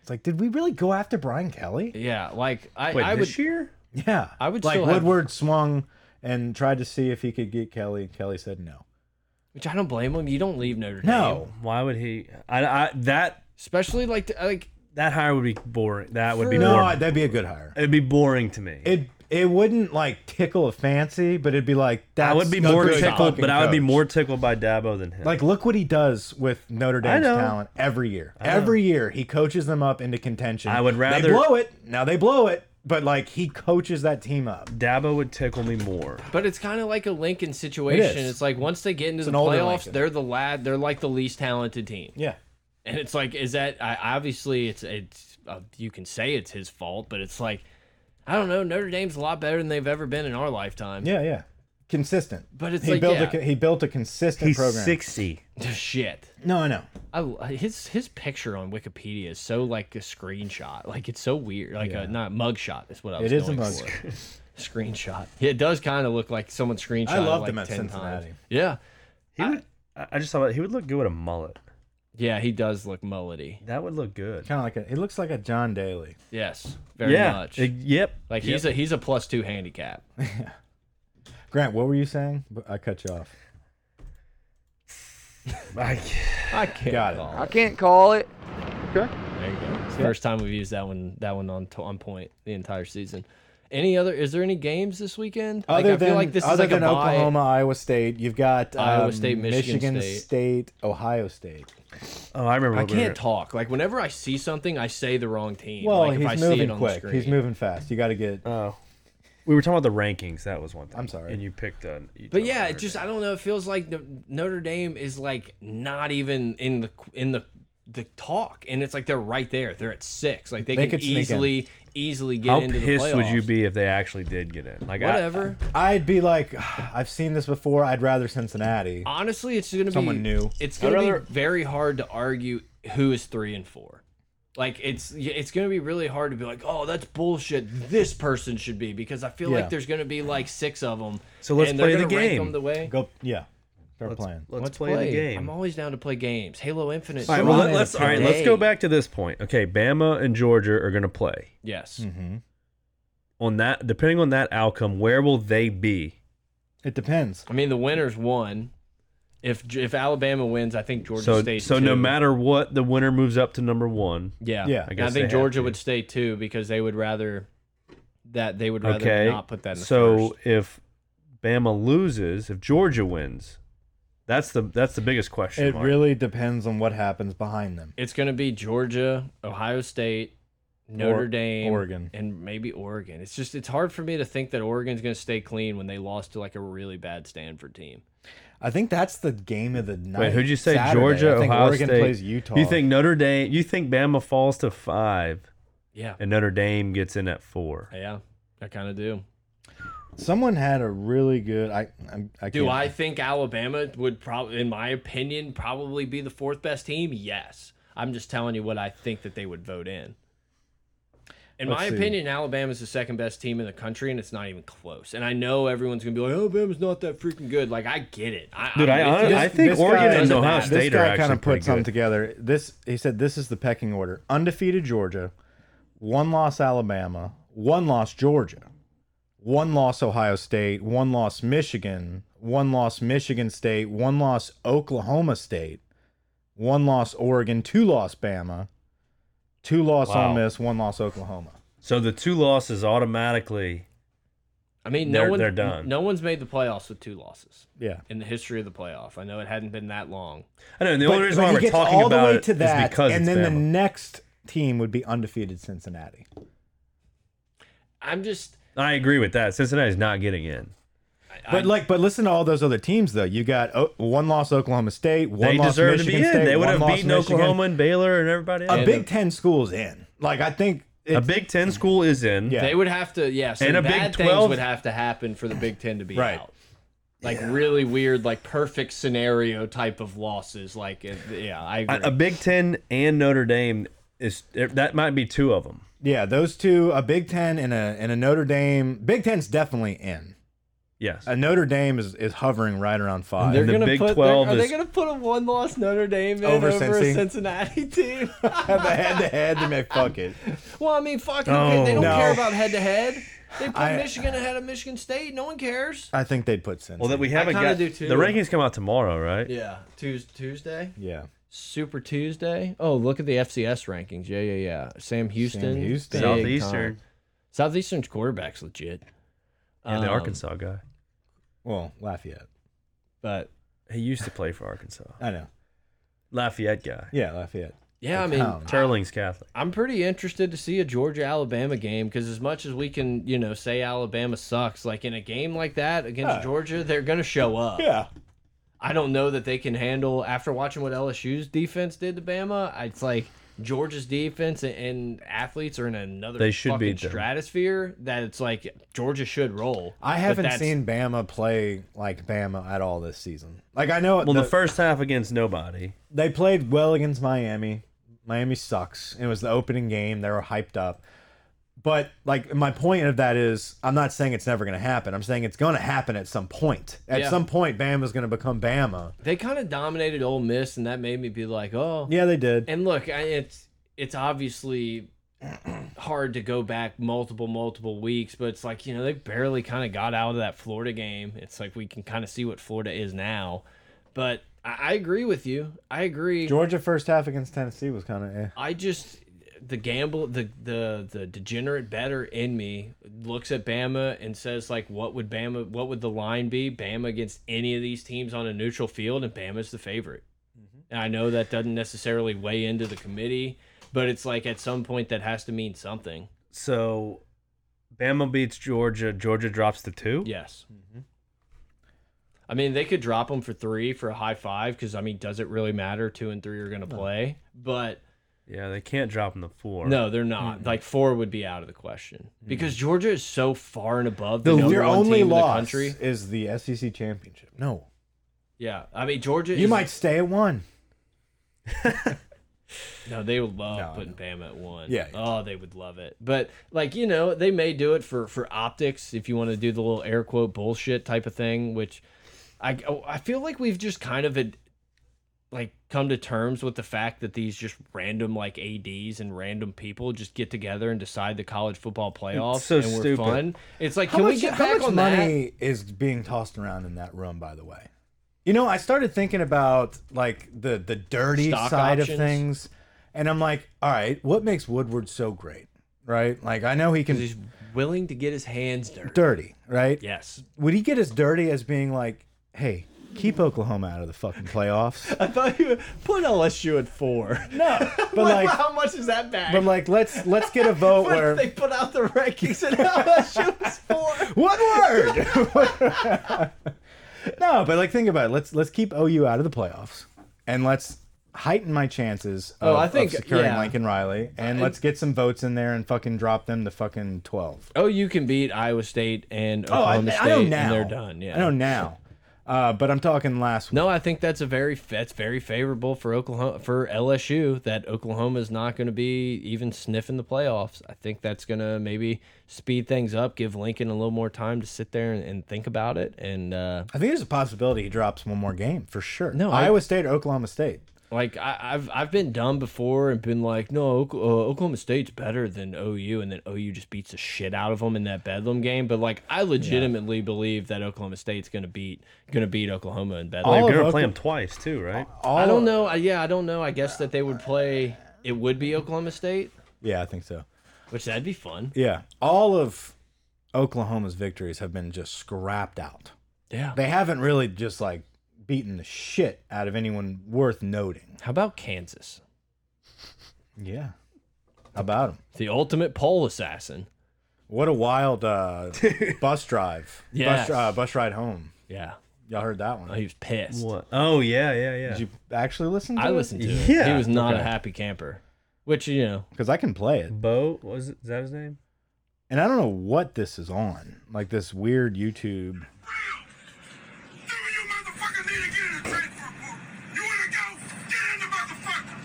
[SPEAKER 4] It's like, did we really go after Brian Kelly?
[SPEAKER 2] Yeah, like I,
[SPEAKER 3] Wait,
[SPEAKER 2] I
[SPEAKER 3] this
[SPEAKER 2] would
[SPEAKER 3] year?
[SPEAKER 4] Yeah,
[SPEAKER 2] I would
[SPEAKER 4] like
[SPEAKER 2] still have-
[SPEAKER 4] Woodward swung and tried to see if he could get Kelly, and Kelly said no.
[SPEAKER 2] which I don't blame them. You don't leave Notre Dame.
[SPEAKER 4] No,
[SPEAKER 3] Why would he? I, I that
[SPEAKER 2] Especially like like
[SPEAKER 3] that hire would be boring. That would be
[SPEAKER 4] no,
[SPEAKER 3] boring.
[SPEAKER 4] that'd be a good hire.
[SPEAKER 3] It'd be boring to me.
[SPEAKER 4] It it wouldn't like tickle a fancy, but it'd be like that.
[SPEAKER 3] I would be more tickled, but I would be more tickled by Dabo than him.
[SPEAKER 4] Like, look what he does with Notre Dame's
[SPEAKER 3] know.
[SPEAKER 4] talent every year. Every year, he coaches them up into contention.
[SPEAKER 3] I would rather-
[SPEAKER 4] they blow it. Now they blow it, but like he coaches that team up.
[SPEAKER 3] Dabo would tickle me more.
[SPEAKER 2] But it's kind of like a Lincoln situation.
[SPEAKER 4] It is.
[SPEAKER 2] it's like once they get into the
[SPEAKER 4] an older
[SPEAKER 2] playoffs,
[SPEAKER 4] Lincoln.
[SPEAKER 2] they're the lad. They're like the least talented team,
[SPEAKER 4] Yeah,
[SPEAKER 2] and it's like, is that I, obviously it's it's uh, you can say it's his fault, but it's like I don't know. Notre Dame's a lot better than they've ever been in our lifetime.
[SPEAKER 4] yeah, yeah. Consistent,
[SPEAKER 2] But it's
[SPEAKER 4] he
[SPEAKER 2] like,
[SPEAKER 4] built
[SPEAKER 2] yeah.
[SPEAKER 4] a, he built a consistent
[SPEAKER 3] He's
[SPEAKER 4] program.
[SPEAKER 3] sixty.
[SPEAKER 2] Shit,
[SPEAKER 4] No, I know.
[SPEAKER 2] I, his his picture on Wikipedia is so like a screenshot. Like it's so weird. Like a not mugshot is what I was.
[SPEAKER 4] It is a
[SPEAKER 2] going
[SPEAKER 4] mug.
[SPEAKER 2] for. Screenshot. It does kind of look like someone screenshot.
[SPEAKER 4] I loved
[SPEAKER 2] like
[SPEAKER 4] him at
[SPEAKER 2] 10
[SPEAKER 4] Cincinnati.
[SPEAKER 2] Times. Yeah,
[SPEAKER 3] He would. I I just thought about- he would look good with a mullet.
[SPEAKER 2] yeah, he does look mullety.
[SPEAKER 3] That would look good.
[SPEAKER 4] Kind of like a, it looks like a John Daly.
[SPEAKER 2] Yes, very
[SPEAKER 3] yeah.
[SPEAKER 2] much.
[SPEAKER 3] Uh, yep.
[SPEAKER 2] Like he's a he's a plus two handicap.
[SPEAKER 4] Grant, what were you saying? B- I cut you off.
[SPEAKER 3] I,
[SPEAKER 2] I can't
[SPEAKER 4] Got it.
[SPEAKER 2] call
[SPEAKER 5] I can't call it.
[SPEAKER 2] There you go. It's the first time we've used that one that one on on point the entire season. Any other? Is there any games this weekend?
[SPEAKER 4] Other
[SPEAKER 2] like, I
[SPEAKER 4] than
[SPEAKER 2] feel like this
[SPEAKER 4] other
[SPEAKER 2] is like
[SPEAKER 4] than
[SPEAKER 2] a bye.
[SPEAKER 4] Oklahoma, Iowa State, you've got
[SPEAKER 2] Iowa
[SPEAKER 4] um,
[SPEAKER 2] State, Michigan State.
[SPEAKER 4] Ohio State.
[SPEAKER 3] oh, I remember.
[SPEAKER 2] I
[SPEAKER 3] what we were-
[SPEAKER 2] can't talk. Like whenever I see something, I say the wrong team.
[SPEAKER 4] Well,
[SPEAKER 2] like, if I
[SPEAKER 4] he's
[SPEAKER 2] see it
[SPEAKER 4] moving
[SPEAKER 2] on The
[SPEAKER 4] quick.
[SPEAKER 2] screen.
[SPEAKER 4] He's moving fast. You got to get.
[SPEAKER 3] Oh. We were talking about the rankings. That was one thing.
[SPEAKER 4] I'm sorry.
[SPEAKER 3] And you picked a. you
[SPEAKER 2] But
[SPEAKER 3] chose
[SPEAKER 2] yeah, it
[SPEAKER 3] Notre
[SPEAKER 2] just
[SPEAKER 3] Dame.
[SPEAKER 2] I don't know. It feels like the, Notre Dame is like not even in the in the the talk, and it's like they're right there. They're at six. Like they,
[SPEAKER 4] They
[SPEAKER 2] can
[SPEAKER 4] could sneak in.
[SPEAKER 2] easily easily get
[SPEAKER 3] How
[SPEAKER 2] into the
[SPEAKER 3] pissed would you
[SPEAKER 2] playoffs.
[SPEAKER 3] be if they actually did get in? Like I-
[SPEAKER 2] Whatever.
[SPEAKER 4] I'd be like, I've seen this before. I'd rather Cincinnati.
[SPEAKER 2] honestly, it's going to be
[SPEAKER 4] Someone new.
[SPEAKER 2] It's going to
[SPEAKER 3] rather-
[SPEAKER 2] be very hard to argue who is three and four. Like it's it's going to be really hard to be like, oh, that's bullshit. This person should be because I feel
[SPEAKER 4] Yeah.
[SPEAKER 2] like there's going to be like six of them.
[SPEAKER 3] So let's
[SPEAKER 2] and they're
[SPEAKER 3] play the
[SPEAKER 2] gonna rank
[SPEAKER 3] game.
[SPEAKER 2] them the way.
[SPEAKER 4] Go, yeah. Start playing.
[SPEAKER 3] let's,
[SPEAKER 2] Let's
[SPEAKER 3] play, the game.
[SPEAKER 2] I'm always down to play games. Halo Infinite.
[SPEAKER 3] all right,
[SPEAKER 4] So
[SPEAKER 3] well,
[SPEAKER 4] I'm
[SPEAKER 3] let,
[SPEAKER 4] in
[SPEAKER 3] us
[SPEAKER 4] it
[SPEAKER 3] all right. Let's
[SPEAKER 2] today.
[SPEAKER 3] go back to this point. Okay, Bama and Georgia are going to play.
[SPEAKER 2] Yes.
[SPEAKER 3] Mm-hmm. On that, depending on that outcome, where will they be?
[SPEAKER 4] It depends.
[SPEAKER 2] I mean, the winners won. If if Alabama wins, I think Georgia
[SPEAKER 3] So,
[SPEAKER 2] State.
[SPEAKER 3] so
[SPEAKER 2] two.
[SPEAKER 3] no matter what, the winner moves up to number one.
[SPEAKER 2] Yeah.
[SPEAKER 4] Yeah. I
[SPEAKER 2] And I,
[SPEAKER 3] guess they
[SPEAKER 2] think
[SPEAKER 3] have
[SPEAKER 2] Georgia
[SPEAKER 3] to.
[SPEAKER 2] would stay two because they would rather that they would rather
[SPEAKER 3] okay,
[SPEAKER 2] not put that in the
[SPEAKER 3] so
[SPEAKER 2] first.
[SPEAKER 3] if Bama loses, if Georgia wins, that's the that's the biggest question.
[SPEAKER 4] It
[SPEAKER 3] mark.
[SPEAKER 4] really depends on what happens behind them.
[SPEAKER 2] It's going to be Georgia, Ohio State, Notre
[SPEAKER 4] Or-
[SPEAKER 2] Dame,
[SPEAKER 4] Oregon.
[SPEAKER 2] and maybe Oregon. It's just it's hard for me to think that Oregon's going to stay clean when they lost to like a really bad Stanford team.
[SPEAKER 4] I think that's the game of the night.
[SPEAKER 3] Wait, who'd you say?
[SPEAKER 4] Saturday.
[SPEAKER 3] Georgia,
[SPEAKER 4] I think
[SPEAKER 3] Ohio
[SPEAKER 4] Oregon
[SPEAKER 3] State.
[SPEAKER 4] plays Utah.
[SPEAKER 3] You think Notre Dame? You think Bama falls to five,
[SPEAKER 2] Yeah.
[SPEAKER 3] and Notre Dame gets in at four?
[SPEAKER 2] Yeah. I kind of do.
[SPEAKER 4] someone had a really good? I, I, I
[SPEAKER 2] Do
[SPEAKER 4] can't-
[SPEAKER 2] I think Alabama would probably, in my opinion, probably be the fourth best team? Yes. I'm just telling you what I think that they would vote in. In
[SPEAKER 4] Let's
[SPEAKER 2] my
[SPEAKER 4] see.
[SPEAKER 2] opinion, Alabama's the second best team in the country, and it's not even close. And I know everyone's gonna be like, "Alabama's not that freaking good." Like, I get it. I,
[SPEAKER 3] Dude, I
[SPEAKER 2] I'm with
[SPEAKER 3] hon-
[SPEAKER 2] you.
[SPEAKER 3] I think Oregon
[SPEAKER 2] and Ohio
[SPEAKER 4] This
[SPEAKER 3] State are
[SPEAKER 4] guy kind
[SPEAKER 3] actually
[SPEAKER 4] of
[SPEAKER 3] pretty
[SPEAKER 4] put something
[SPEAKER 3] good.
[SPEAKER 4] together. This he said this is the pecking order: undefeated Georgia, one loss Alabama, one loss Georgia, one loss Ohio State, one loss Michigan, one loss Michigan State, one loss Oklahoma State, one loss Oregon, two loss Bama, two loss
[SPEAKER 3] Wow.
[SPEAKER 4] Ole Miss, one loss Oklahoma.
[SPEAKER 3] So the two losses automatically.
[SPEAKER 2] I mean, no
[SPEAKER 3] They're-
[SPEAKER 2] one,
[SPEAKER 3] they're done.
[SPEAKER 2] No one's made the playoffs with two losses
[SPEAKER 4] Yeah.
[SPEAKER 2] in the history of the playoff. I know it hadn't been that long.
[SPEAKER 3] I know. And the
[SPEAKER 4] But-
[SPEAKER 3] only reason
[SPEAKER 4] but
[SPEAKER 3] why
[SPEAKER 4] he
[SPEAKER 3] we're
[SPEAKER 4] gets
[SPEAKER 3] talking
[SPEAKER 4] all the
[SPEAKER 3] about
[SPEAKER 4] way
[SPEAKER 3] it
[SPEAKER 4] to
[SPEAKER 3] is
[SPEAKER 4] that,
[SPEAKER 3] because
[SPEAKER 4] and
[SPEAKER 3] it's
[SPEAKER 4] then the
[SPEAKER 3] Bama.
[SPEAKER 4] next team would be undefeated Cincinnati.
[SPEAKER 2] I'm just,
[SPEAKER 3] I agree with that. Cincinnati's not getting in.
[SPEAKER 4] But like, but listen to all those other teams though. You got oh, one loss Oklahoma State, one
[SPEAKER 3] They
[SPEAKER 4] loss
[SPEAKER 3] deserve to
[SPEAKER 4] Michigan
[SPEAKER 3] be in.
[SPEAKER 4] State,
[SPEAKER 3] they would
[SPEAKER 4] one
[SPEAKER 3] have
[SPEAKER 4] loss
[SPEAKER 3] beaten
[SPEAKER 4] Michigan.
[SPEAKER 3] Oklahoma and Baylor and everybody else.
[SPEAKER 4] A Big Ten school's in. Like I think
[SPEAKER 3] a
[SPEAKER 4] it's
[SPEAKER 3] Big Ten school is in.
[SPEAKER 4] Yeah.
[SPEAKER 2] they would have to, yeah, some
[SPEAKER 3] And a Big
[SPEAKER 2] bad
[SPEAKER 3] 12?
[SPEAKER 2] things would have to happen for the Big Ten to be
[SPEAKER 4] Right.
[SPEAKER 2] out. Like really weird, like perfect scenario type of losses. Like, it, yeah, I agree.
[SPEAKER 3] A, a Big Ten and Notre Dame is that might be two of them.
[SPEAKER 4] yeah, those two, a Big Ten and a and a Notre Dame. Big Ten's definitely in.
[SPEAKER 3] Yes.
[SPEAKER 4] A Notre Dame is is hovering right around five.
[SPEAKER 2] they're
[SPEAKER 3] the
[SPEAKER 2] gonna
[SPEAKER 3] Big
[SPEAKER 2] put,
[SPEAKER 3] 12
[SPEAKER 2] they're, are
[SPEAKER 3] is-
[SPEAKER 2] they going to put a one loss Notre Dame in
[SPEAKER 4] Over
[SPEAKER 2] over,
[SPEAKER 4] Cincy?
[SPEAKER 2] a Cincinnati team?
[SPEAKER 4] head to head, they may fuck it.
[SPEAKER 2] well, I mean, fuck, who ca- they don't
[SPEAKER 4] No.
[SPEAKER 2] care about head to head. They put
[SPEAKER 4] I-
[SPEAKER 2] Michigan ahead of Michigan State. No one cares.
[SPEAKER 4] I think they'd put Cincy.
[SPEAKER 3] well, that we haven't
[SPEAKER 2] kinda
[SPEAKER 3] got
[SPEAKER 2] do too.
[SPEAKER 3] the rankings come out tomorrow, right?
[SPEAKER 2] Yeah, Tues Tuesday.
[SPEAKER 4] yeah,
[SPEAKER 2] Super Tuesday. Oh, look at the FCS rankings. Yeah, yeah, yeah. Sam Houston.
[SPEAKER 4] Houston.
[SPEAKER 2] big
[SPEAKER 3] Southeastern
[SPEAKER 2] time. Southeastern's quarterback's legit.
[SPEAKER 3] and the
[SPEAKER 2] Um,
[SPEAKER 3] Arkansas guy.
[SPEAKER 4] well Lafayette.
[SPEAKER 2] But
[SPEAKER 3] He used to play for Arkansas.
[SPEAKER 4] I know.
[SPEAKER 3] Lafayette guy.
[SPEAKER 4] Yeah, Lafayette.
[SPEAKER 2] yeah, I mean,
[SPEAKER 4] Town.
[SPEAKER 3] Turling's Catholic.
[SPEAKER 2] I'm pretty interested to see a Georgia Alabama game because as much as we can, you know, say Alabama sucks, like in a game like that against
[SPEAKER 4] Yeah.
[SPEAKER 2] Georgia, they're gonna show up.
[SPEAKER 4] Yeah,
[SPEAKER 2] I don't know that they can handle after watching what LSU's defense did to Bama. I- It's like Georgia's defense and, and athletes are in another
[SPEAKER 3] They should
[SPEAKER 2] fucking
[SPEAKER 3] beat them.
[SPEAKER 2] stratosphere that it's like Georgia should roll.
[SPEAKER 4] I
[SPEAKER 2] But
[SPEAKER 4] haven't
[SPEAKER 2] that's-
[SPEAKER 4] seen Bama play like Bama at all this season. Like I know
[SPEAKER 3] Well, the, first half against nobody.
[SPEAKER 4] they played well against Miami. Miami sucks. It was the opening game. They were hyped up. But like my point of that is I'm not saying it's never going to happen. I'm saying it's going to happen at some point. At
[SPEAKER 2] Yeah.
[SPEAKER 4] some point Bama's going to become Bama.
[SPEAKER 2] they kind of dominated Ole Miss, and that made me be like, oh.
[SPEAKER 4] Yeah, they did.
[SPEAKER 2] And look, I, it's it's obviously hard to go back multiple multiple weeks, but it's like you know they barely kind of got out of that Florida game. It's like we can kind of see what Florida is now, but. I I agree with you. I agree.
[SPEAKER 4] Georgia first half against Tennessee was kind of eh.
[SPEAKER 2] I just the gamble the the the degenerate better in me looks at Bama and says like what would Bama what would the line be Bama against any of these teams on a neutral field and Bama's the favorite. And I know that doesn't necessarily weigh into the committee, but it's like at some point that has to mean something.
[SPEAKER 3] So Bama beats Georgia. Georgia drops to two.
[SPEAKER 2] Yes. I mean, they could drop them for three for a high five because I mean, does it really matter? Two and three are going to play, but
[SPEAKER 3] Yeah, they can't drop them to four.
[SPEAKER 2] No, they're not.
[SPEAKER 4] Mm-hmm.
[SPEAKER 2] Like four would be out of the question because Georgia is so far and above the,
[SPEAKER 4] The,
[SPEAKER 2] number
[SPEAKER 4] your
[SPEAKER 2] one
[SPEAKER 4] only
[SPEAKER 2] team in the
[SPEAKER 4] loss
[SPEAKER 2] country.
[SPEAKER 4] is the SEC championship. No.
[SPEAKER 2] Yeah, I mean Georgia.
[SPEAKER 4] You
[SPEAKER 2] is,
[SPEAKER 4] might stay at one.
[SPEAKER 2] No, they would love
[SPEAKER 4] No,
[SPEAKER 2] putting Bama at one.
[SPEAKER 4] Yeah, yeah.
[SPEAKER 2] Oh, they would love it. But like you know, they may do it for for optics if you want to do the little air quote bullshit type of thing. Which I oh, I feel like we've just kind of ad, like come to terms with the fact that these just random like ads and random people just get together and decide the college football playoffs
[SPEAKER 3] so
[SPEAKER 2] and we're
[SPEAKER 3] stupid.
[SPEAKER 2] fun. It's like can we get
[SPEAKER 4] how
[SPEAKER 2] back
[SPEAKER 4] much
[SPEAKER 2] on that?
[SPEAKER 4] money is being tossed around in that room by the way you know i started thinking about like the the dirty
[SPEAKER 2] Stock
[SPEAKER 4] side
[SPEAKER 2] options?
[SPEAKER 4] of things and i'm like all right what makes woodward so great right like i know he can
[SPEAKER 2] He's willing to get his hands dirty.
[SPEAKER 4] dirty right
[SPEAKER 2] Yes.
[SPEAKER 4] would he get as dirty as being like hey keep oklahoma out of the fucking playoffs
[SPEAKER 2] I thought you put LSU at four.
[SPEAKER 4] no but like
[SPEAKER 2] how much is that back?
[SPEAKER 4] but like let's let's get a vote where
[SPEAKER 2] put out the rankings and LSU was four.
[SPEAKER 4] What word? no, but like think about it. Let's let's keep OU out of the playoffs, and let's heighten my chances. Of,
[SPEAKER 2] Oh, I
[SPEAKER 4] of
[SPEAKER 2] think-
[SPEAKER 4] securing
[SPEAKER 2] yeah.
[SPEAKER 4] Lincoln Riley, and let's get some votes in there and fucking drop them to fucking twelve.
[SPEAKER 2] Oh, you can beat Iowa State and Oklahoma State, and they're done. Yeah.
[SPEAKER 4] I know now. Uh, but I'm talking last
[SPEAKER 2] No, I think that's a very that's very favorable for Oklahoma for LSU that Oklahoma is not going to be even sniffing the playoffs. I think that's going to maybe speed things up, give Lincoln a little more time to sit there and, and think about it. And uh,
[SPEAKER 4] I think there's a possibility he drops one more game for sure.
[SPEAKER 2] No, I-
[SPEAKER 4] Iowa State or Oklahoma State.
[SPEAKER 2] like I, I've I've been dumb before and been like, no, Ok- uh, Oklahoma State's better than OU, and then OU just beats the shit out of them in that Bedlam game. But like, I legitimately believe that Oklahoma State's going to beat going to beat Oklahoma in Bedlam.
[SPEAKER 3] They're
[SPEAKER 4] All of
[SPEAKER 3] gonna
[SPEAKER 4] Oka-
[SPEAKER 3] play them twice too, right?
[SPEAKER 2] I don't know. I, yeah, I don't know. I guess that they would play. It would be Oklahoma State,
[SPEAKER 4] Yeah, I think so.
[SPEAKER 2] which that'd be fun.
[SPEAKER 4] Yeah, all of Oklahoma's victories have been just scrapped out.
[SPEAKER 2] Yeah.
[SPEAKER 4] They haven't really just like beaten the shit out of anyone worth noting.
[SPEAKER 2] How about Kansas,
[SPEAKER 4] Yeah, How about them.
[SPEAKER 2] the ultimate pole assassin?
[SPEAKER 4] What a wild uh, bus drive.
[SPEAKER 2] Yes.
[SPEAKER 4] Bus, uh, bus ride home.
[SPEAKER 2] Yeah.
[SPEAKER 4] Y'all heard that one.
[SPEAKER 2] Oh, he was pissed.
[SPEAKER 3] What? Oh yeah, yeah, yeah.
[SPEAKER 4] Did you actually listen? To
[SPEAKER 2] I
[SPEAKER 4] it?
[SPEAKER 2] listened to it.
[SPEAKER 3] Yeah.
[SPEAKER 2] He was not a
[SPEAKER 3] Okay.
[SPEAKER 2] happy camper, which you know.
[SPEAKER 4] because I can play it,
[SPEAKER 3] Bo was it, is that his name?
[SPEAKER 4] and I don't know what this is on. Like this weird YouTube.
[SPEAKER 1] you motherfucker need to get in the transfer book. You wanna go? Get in the motherfucker.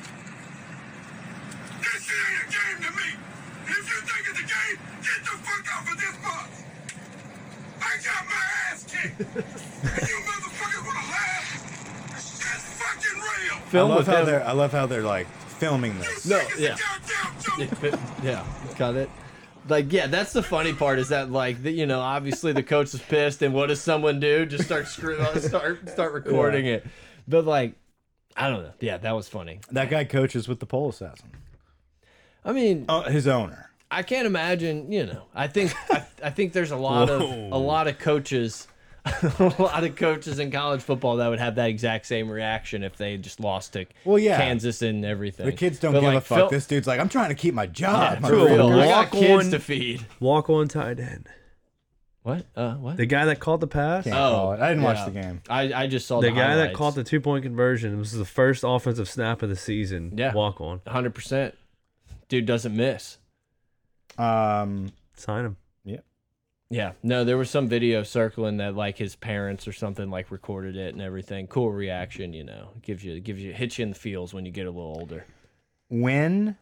[SPEAKER 1] This shit ain't a game to me. If you think it's a game, get the fuck off of this bus. I got my ass kicked. and you motherfuckers wanna laugh? That's fucking real.
[SPEAKER 4] I love how they're. I love how they're like filming
[SPEAKER 1] You
[SPEAKER 4] this.
[SPEAKER 2] No,
[SPEAKER 1] think it's
[SPEAKER 2] yeah.
[SPEAKER 1] a goddamn joke?
[SPEAKER 2] yeah. Got it. Like yeah, that's the funny part is that like the, you know obviously the coach is pissed and what does someone do? Just start screw uh, start start recording it. But like I don't know. Yeah, that was funny.
[SPEAKER 4] That guy coaches with the pole assassin.
[SPEAKER 2] I mean,
[SPEAKER 4] Uh, his owner.
[SPEAKER 2] I can't imagine. You know, I think I, I think there's a lot of
[SPEAKER 3] Whoa.
[SPEAKER 2] a lot of coaches, a lot of coaches in college football that would have that exact same reaction if they just lost to
[SPEAKER 4] Well, yeah.
[SPEAKER 2] Kansas and everything.
[SPEAKER 4] The kids don't
[SPEAKER 2] But,
[SPEAKER 4] give a
[SPEAKER 2] like,
[SPEAKER 4] fuck.
[SPEAKER 2] Phil-
[SPEAKER 4] this dude's like, I'm trying to keep my
[SPEAKER 2] Yeah,
[SPEAKER 4] job.
[SPEAKER 2] for
[SPEAKER 3] a
[SPEAKER 2] real. I got
[SPEAKER 3] walk
[SPEAKER 2] kids
[SPEAKER 3] on-
[SPEAKER 2] to feed.
[SPEAKER 3] Walk on tight end.
[SPEAKER 2] What? Uh, what?
[SPEAKER 3] The guy that caught the pass.
[SPEAKER 4] Can't call it. Oh, I didn't watch the game.
[SPEAKER 2] Oh, I, I just saw
[SPEAKER 3] The
[SPEAKER 2] the,
[SPEAKER 3] guy that caught the two point conversion. It was the first offensive snap of the season.
[SPEAKER 2] Yeah.
[SPEAKER 3] Walk on.
[SPEAKER 2] 100. percent Dude doesn't miss.
[SPEAKER 4] Um,
[SPEAKER 3] Sign him.
[SPEAKER 4] yeah.
[SPEAKER 2] Yeah, no, there was some video circling that like his parents or something like recorded it and everything. Cool reaction, you know. Gives you gives you hits you in the feels when you get a little older.
[SPEAKER 4] When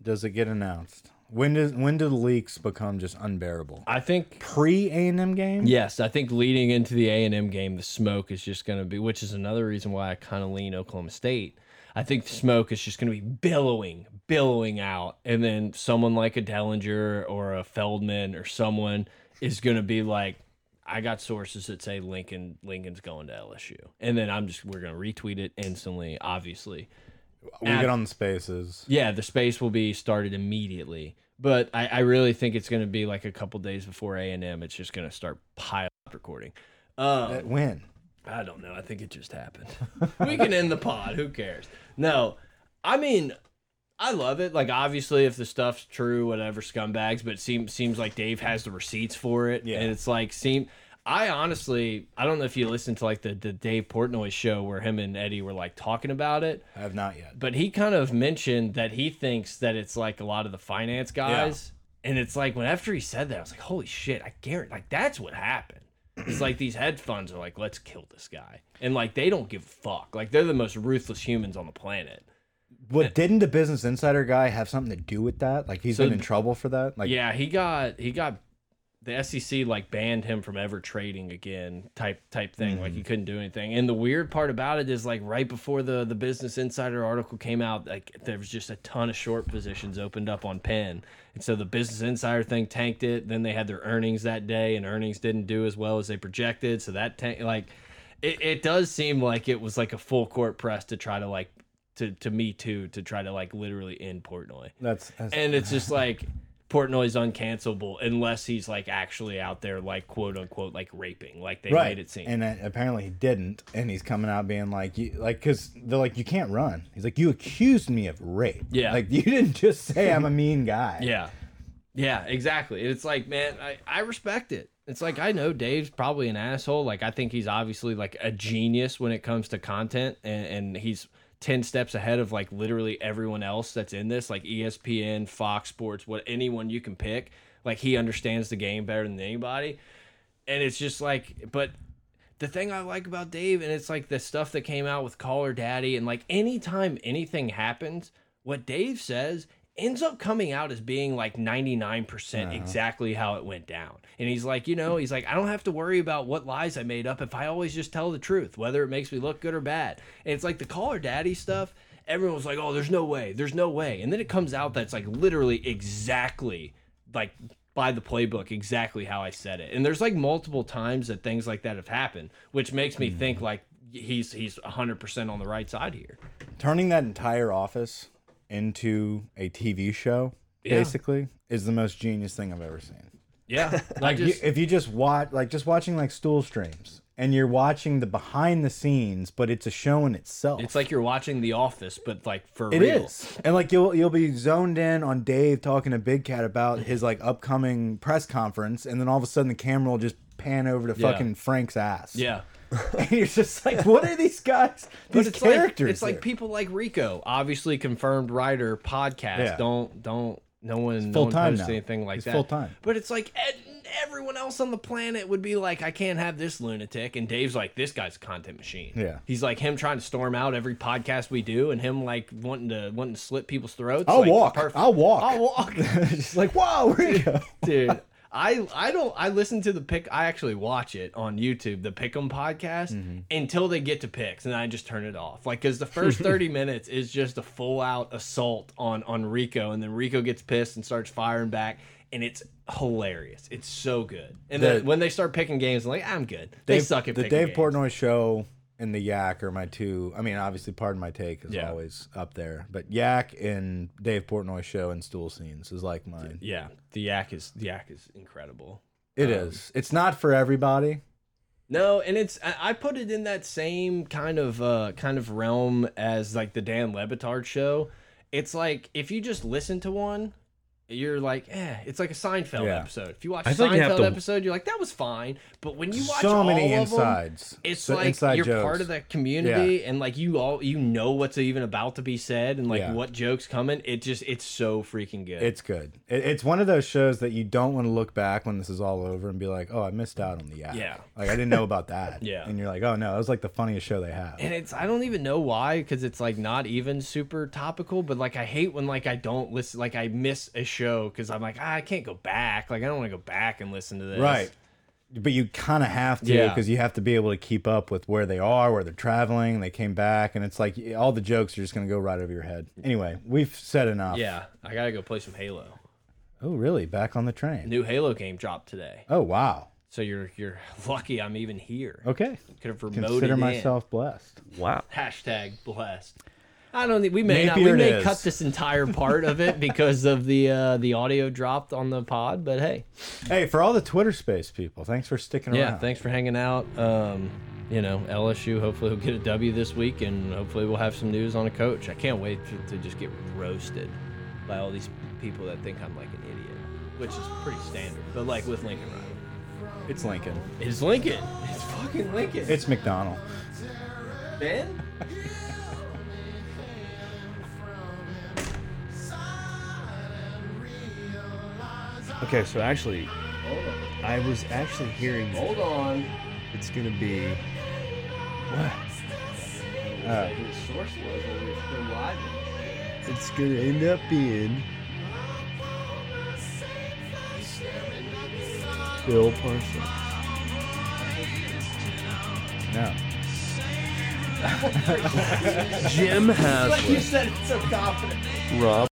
[SPEAKER 4] does it get announced? When does when do the leaks become just unbearable?
[SPEAKER 2] I think
[SPEAKER 4] Pre A and M game.
[SPEAKER 2] Yes, I think leading into the A and M game, the smoke is just going to be, which is another reason why I kind of lean Oklahoma State. I think the smoke is just going to be billowing, billowing out, and then someone like a Dellinger or a Feldman or someone is going to be like, "I got sources that say Lincoln, Lincoln's going to LSU," and then I'm just we're going to retweet it instantly, obviously.
[SPEAKER 4] We get on the spaces.
[SPEAKER 2] Yeah, the space will be started immediately. But I, I really think it's going to be like a couple days before A and M. It's just going to start pile up recording. Um,
[SPEAKER 4] At Uh, when?
[SPEAKER 2] I don't know. I think it just happened. we can end the pod. Who cares? No, I mean, I love it. Like obviously, if the stuff's true, whatever scumbags. But it seems seems like Dave has the receipts for it.
[SPEAKER 4] Yeah.
[SPEAKER 2] and it's like seem. I honestly, I don't know if you listened to like the the Dave Portnoy show where him and Eddie were like talking about it
[SPEAKER 4] I have not yet.
[SPEAKER 2] but he kind of mentioned that he thinks that it's like a lot of the finance guys and it's like when after he said that i was like holy shit i guarantee like that's what happened it's like these hedge funds are like let's kill this guy and like they don't give a fuck like they're the most ruthless humans on the planet
[SPEAKER 4] What didn't the Business Insider guy have something to do with that? Like he's
[SPEAKER 2] So-
[SPEAKER 4] been in trouble for that. Like
[SPEAKER 2] yeah he got he got the sec like banned him from ever trading again type type thing like he couldn't do anything and the weird part about it is like right before the the business insider article came out like there was just a ton of short positions opened up on penn and so the business insider thing tanked it then they had their earnings that day and earnings didn't do as well as they projected so that tank like it, it does seem like it was like a full court press to try to like to to me too to try to like literally end portnoy
[SPEAKER 4] that's, that's
[SPEAKER 2] and it's just like Portnoy's uncancelable unless he's like actually out there like quote unquote like raping like they
[SPEAKER 4] right.
[SPEAKER 2] made it seem.
[SPEAKER 4] And uh, apparently he didn't, and he's coming out being like, you, like, because they're like, you can't run. He's like, you accused me of rape.
[SPEAKER 2] Yeah.
[SPEAKER 4] Like you didn't just say I'm a mean guy.
[SPEAKER 2] yeah, yeah, exactly. And it's like, man, I, I respect it. It's like I know Dave's probably an asshole. Like I think he's obviously like a genius when it comes to content, and, and he's ten steps ahead of like literally everyone else that's in this, like E ESPN, Fox Sports, what anyone you can pick. Like he understands the game better than anybody. and it's just like but the thing I like about Dave, and it's like the stuff that came out with Caller Daddy, and like anytime anything happens, what Dave says ends up coming out as being like 99% percent exactly how it went down. And he's like, you know, he's like, I don't have to worry about what lies I made up if I always just tell the truth, whether it makes me look good or bad. And it's like the Caller Daddy stuff. Everyone was like, "Oh, there's no way, there's no way," and then it comes out that's like literally exactly like by the playbook exactly how I said it. And there's like multiple times that things like that have happened, which makes me
[SPEAKER 4] Mm.
[SPEAKER 2] think like he's he's 100% on the right side here.
[SPEAKER 4] turning that entire office into a TV show
[SPEAKER 2] Yeah.
[SPEAKER 4] basically is the most genius thing I've ever seen.
[SPEAKER 2] Yeah. like
[SPEAKER 4] You- if you just watch like just watching like stool streams and you're watching the behind the scenes, but it's a show in itself.
[SPEAKER 2] it's like you're watching The Office but like for
[SPEAKER 4] It is,
[SPEAKER 2] real.
[SPEAKER 4] and like you'll you'll be zoned in on Dave talking to Big Cat about his like upcoming press conference, and then all of a sudden the camera will just pan over to
[SPEAKER 2] Yeah.
[SPEAKER 4] fucking Frank's ass.
[SPEAKER 2] Yeah.
[SPEAKER 4] and you're just like, what are these guys?
[SPEAKER 2] But
[SPEAKER 4] These
[SPEAKER 2] it's
[SPEAKER 4] characters.
[SPEAKER 2] like it's like
[SPEAKER 4] here?
[SPEAKER 2] people like Rico, obviously confirmed writer podcast.
[SPEAKER 4] Yeah.
[SPEAKER 2] Don't don't no one, no
[SPEAKER 4] full
[SPEAKER 2] one
[SPEAKER 4] time
[SPEAKER 2] posts
[SPEAKER 4] now.
[SPEAKER 2] anything like
[SPEAKER 4] He's
[SPEAKER 2] that.
[SPEAKER 4] full time.
[SPEAKER 2] But it's like ed- everyone else on the planet would be like, I can't have this lunatic. And Dave's like, this guy's a content machine.
[SPEAKER 4] Yeah.
[SPEAKER 2] He's like him trying to storm out every podcast we do, and him like wanting to wanting to slit people's throats.
[SPEAKER 4] I'll
[SPEAKER 2] like,
[SPEAKER 4] walk.
[SPEAKER 2] perfect.
[SPEAKER 4] I'll walk.
[SPEAKER 2] I'll walk
[SPEAKER 4] just like, wow, Rico.
[SPEAKER 2] dude. I I don't I listen to the pick. I actually watch it on YouTube, the Pick'em podcast,
[SPEAKER 4] Mm-hmm.
[SPEAKER 2] until they get to picks, and I just turn it off. Like because the first thirty minutes is just a full out assault on on Rico, and then Rico gets pissed and starts firing back, and it's hilarious. It's so good. And
[SPEAKER 4] The-
[SPEAKER 2] then when they start picking games, I'm like I'm good. They suck at
[SPEAKER 4] the
[SPEAKER 2] picking
[SPEAKER 4] Dave
[SPEAKER 2] games.
[SPEAKER 4] Portnoy show and the Yak are my two. I mean, obviously, pardon my take is
[SPEAKER 2] Yeah.
[SPEAKER 4] always up there, but Yak and Dave Portnoy show and stool scenes is like mine.
[SPEAKER 2] Yeah, the yak is the yak is incredible.
[SPEAKER 4] It is. It's not for everybody.
[SPEAKER 2] No, and it's I I put it in that same kind of uh kind of realm as like the Dan Lebitard show. It's like if you just listen to one, you're like, eh, it's like a Seinfeld
[SPEAKER 4] Yeah.
[SPEAKER 2] episode. If you watch a
[SPEAKER 3] I think you have
[SPEAKER 2] Seinfeld
[SPEAKER 3] to-
[SPEAKER 2] episode, you're like, that was fine. But when you watch
[SPEAKER 4] so
[SPEAKER 2] all
[SPEAKER 4] many
[SPEAKER 2] of 'em,
[SPEAKER 4] insides.
[SPEAKER 2] it's
[SPEAKER 4] So
[SPEAKER 2] like
[SPEAKER 4] inside
[SPEAKER 2] you're
[SPEAKER 4] jokes.
[SPEAKER 2] part of that community and like you all you know what's even about to be said and like
[SPEAKER 4] Yeah.
[SPEAKER 2] what jokes coming. It just it's so freaking good.
[SPEAKER 4] It's good. It, it's one of those shows that you don't want to look back when this is all over and be like, oh, I missed out on the Yak.
[SPEAKER 2] Yeah.
[SPEAKER 4] Like, I didn't know about that.
[SPEAKER 2] Yeah.
[SPEAKER 4] And you're like, oh, no, that was like the funniest show they have.
[SPEAKER 2] and it's I don't even know why because it's like not even super topical, but like I hate when like I don't listen, like I miss a show because I'm like ah, I can't go back, like I don't want to go back and listen to this.
[SPEAKER 4] Right. But you kind of have to
[SPEAKER 2] Yeah.
[SPEAKER 4] because you have to be able to keep up with where they are, where they're traveling. They came back, and it's like all the jokes are just going to go right over your head. Anyway, we've said enough.
[SPEAKER 2] Yeah, I gotta go play some Halo.
[SPEAKER 4] Oh, really? Back on the train.
[SPEAKER 2] New Halo game dropped today,
[SPEAKER 4] Oh, wow.
[SPEAKER 2] so you're you're lucky I'm even here.
[SPEAKER 4] Okay.
[SPEAKER 2] Could have remoted
[SPEAKER 4] Consider
[SPEAKER 2] in.
[SPEAKER 4] myself blessed.
[SPEAKER 3] Wow.
[SPEAKER 2] Hashtag blessed. I don't think we may not.
[SPEAKER 4] Napier
[SPEAKER 2] We
[SPEAKER 4] it
[SPEAKER 2] may
[SPEAKER 4] is.
[SPEAKER 2] cut this entire part of it because of the uh, the audio dropped on the pod. But hey,
[SPEAKER 4] Hey, for all the Twitter space people, thanks for sticking
[SPEAKER 2] Yeah,
[SPEAKER 4] around.
[SPEAKER 2] thanks for hanging out. Um, you know, LSU hopefully will get a W this week, and hopefully we'll have some news on a coach. I can't wait to, to just get roasted by all these people that think I'm like an idiot, which is pretty standard. But like with Lincoln Riley,
[SPEAKER 4] It's Lincoln.
[SPEAKER 2] it's Lincoln. It's fucking Lincoln.
[SPEAKER 4] It's McDonald.
[SPEAKER 2] Ben.
[SPEAKER 3] Okay, so actually, I was actually hearing that
[SPEAKER 2] Hold on.
[SPEAKER 3] it's gonna be.
[SPEAKER 4] Uh,
[SPEAKER 2] source was when we were still live.
[SPEAKER 3] It's gonna end up being. Bill Parsons.
[SPEAKER 4] no.
[SPEAKER 3] Jim
[SPEAKER 2] But you
[SPEAKER 3] Haslett.
[SPEAKER 2] said it so confident.
[SPEAKER 3] Rob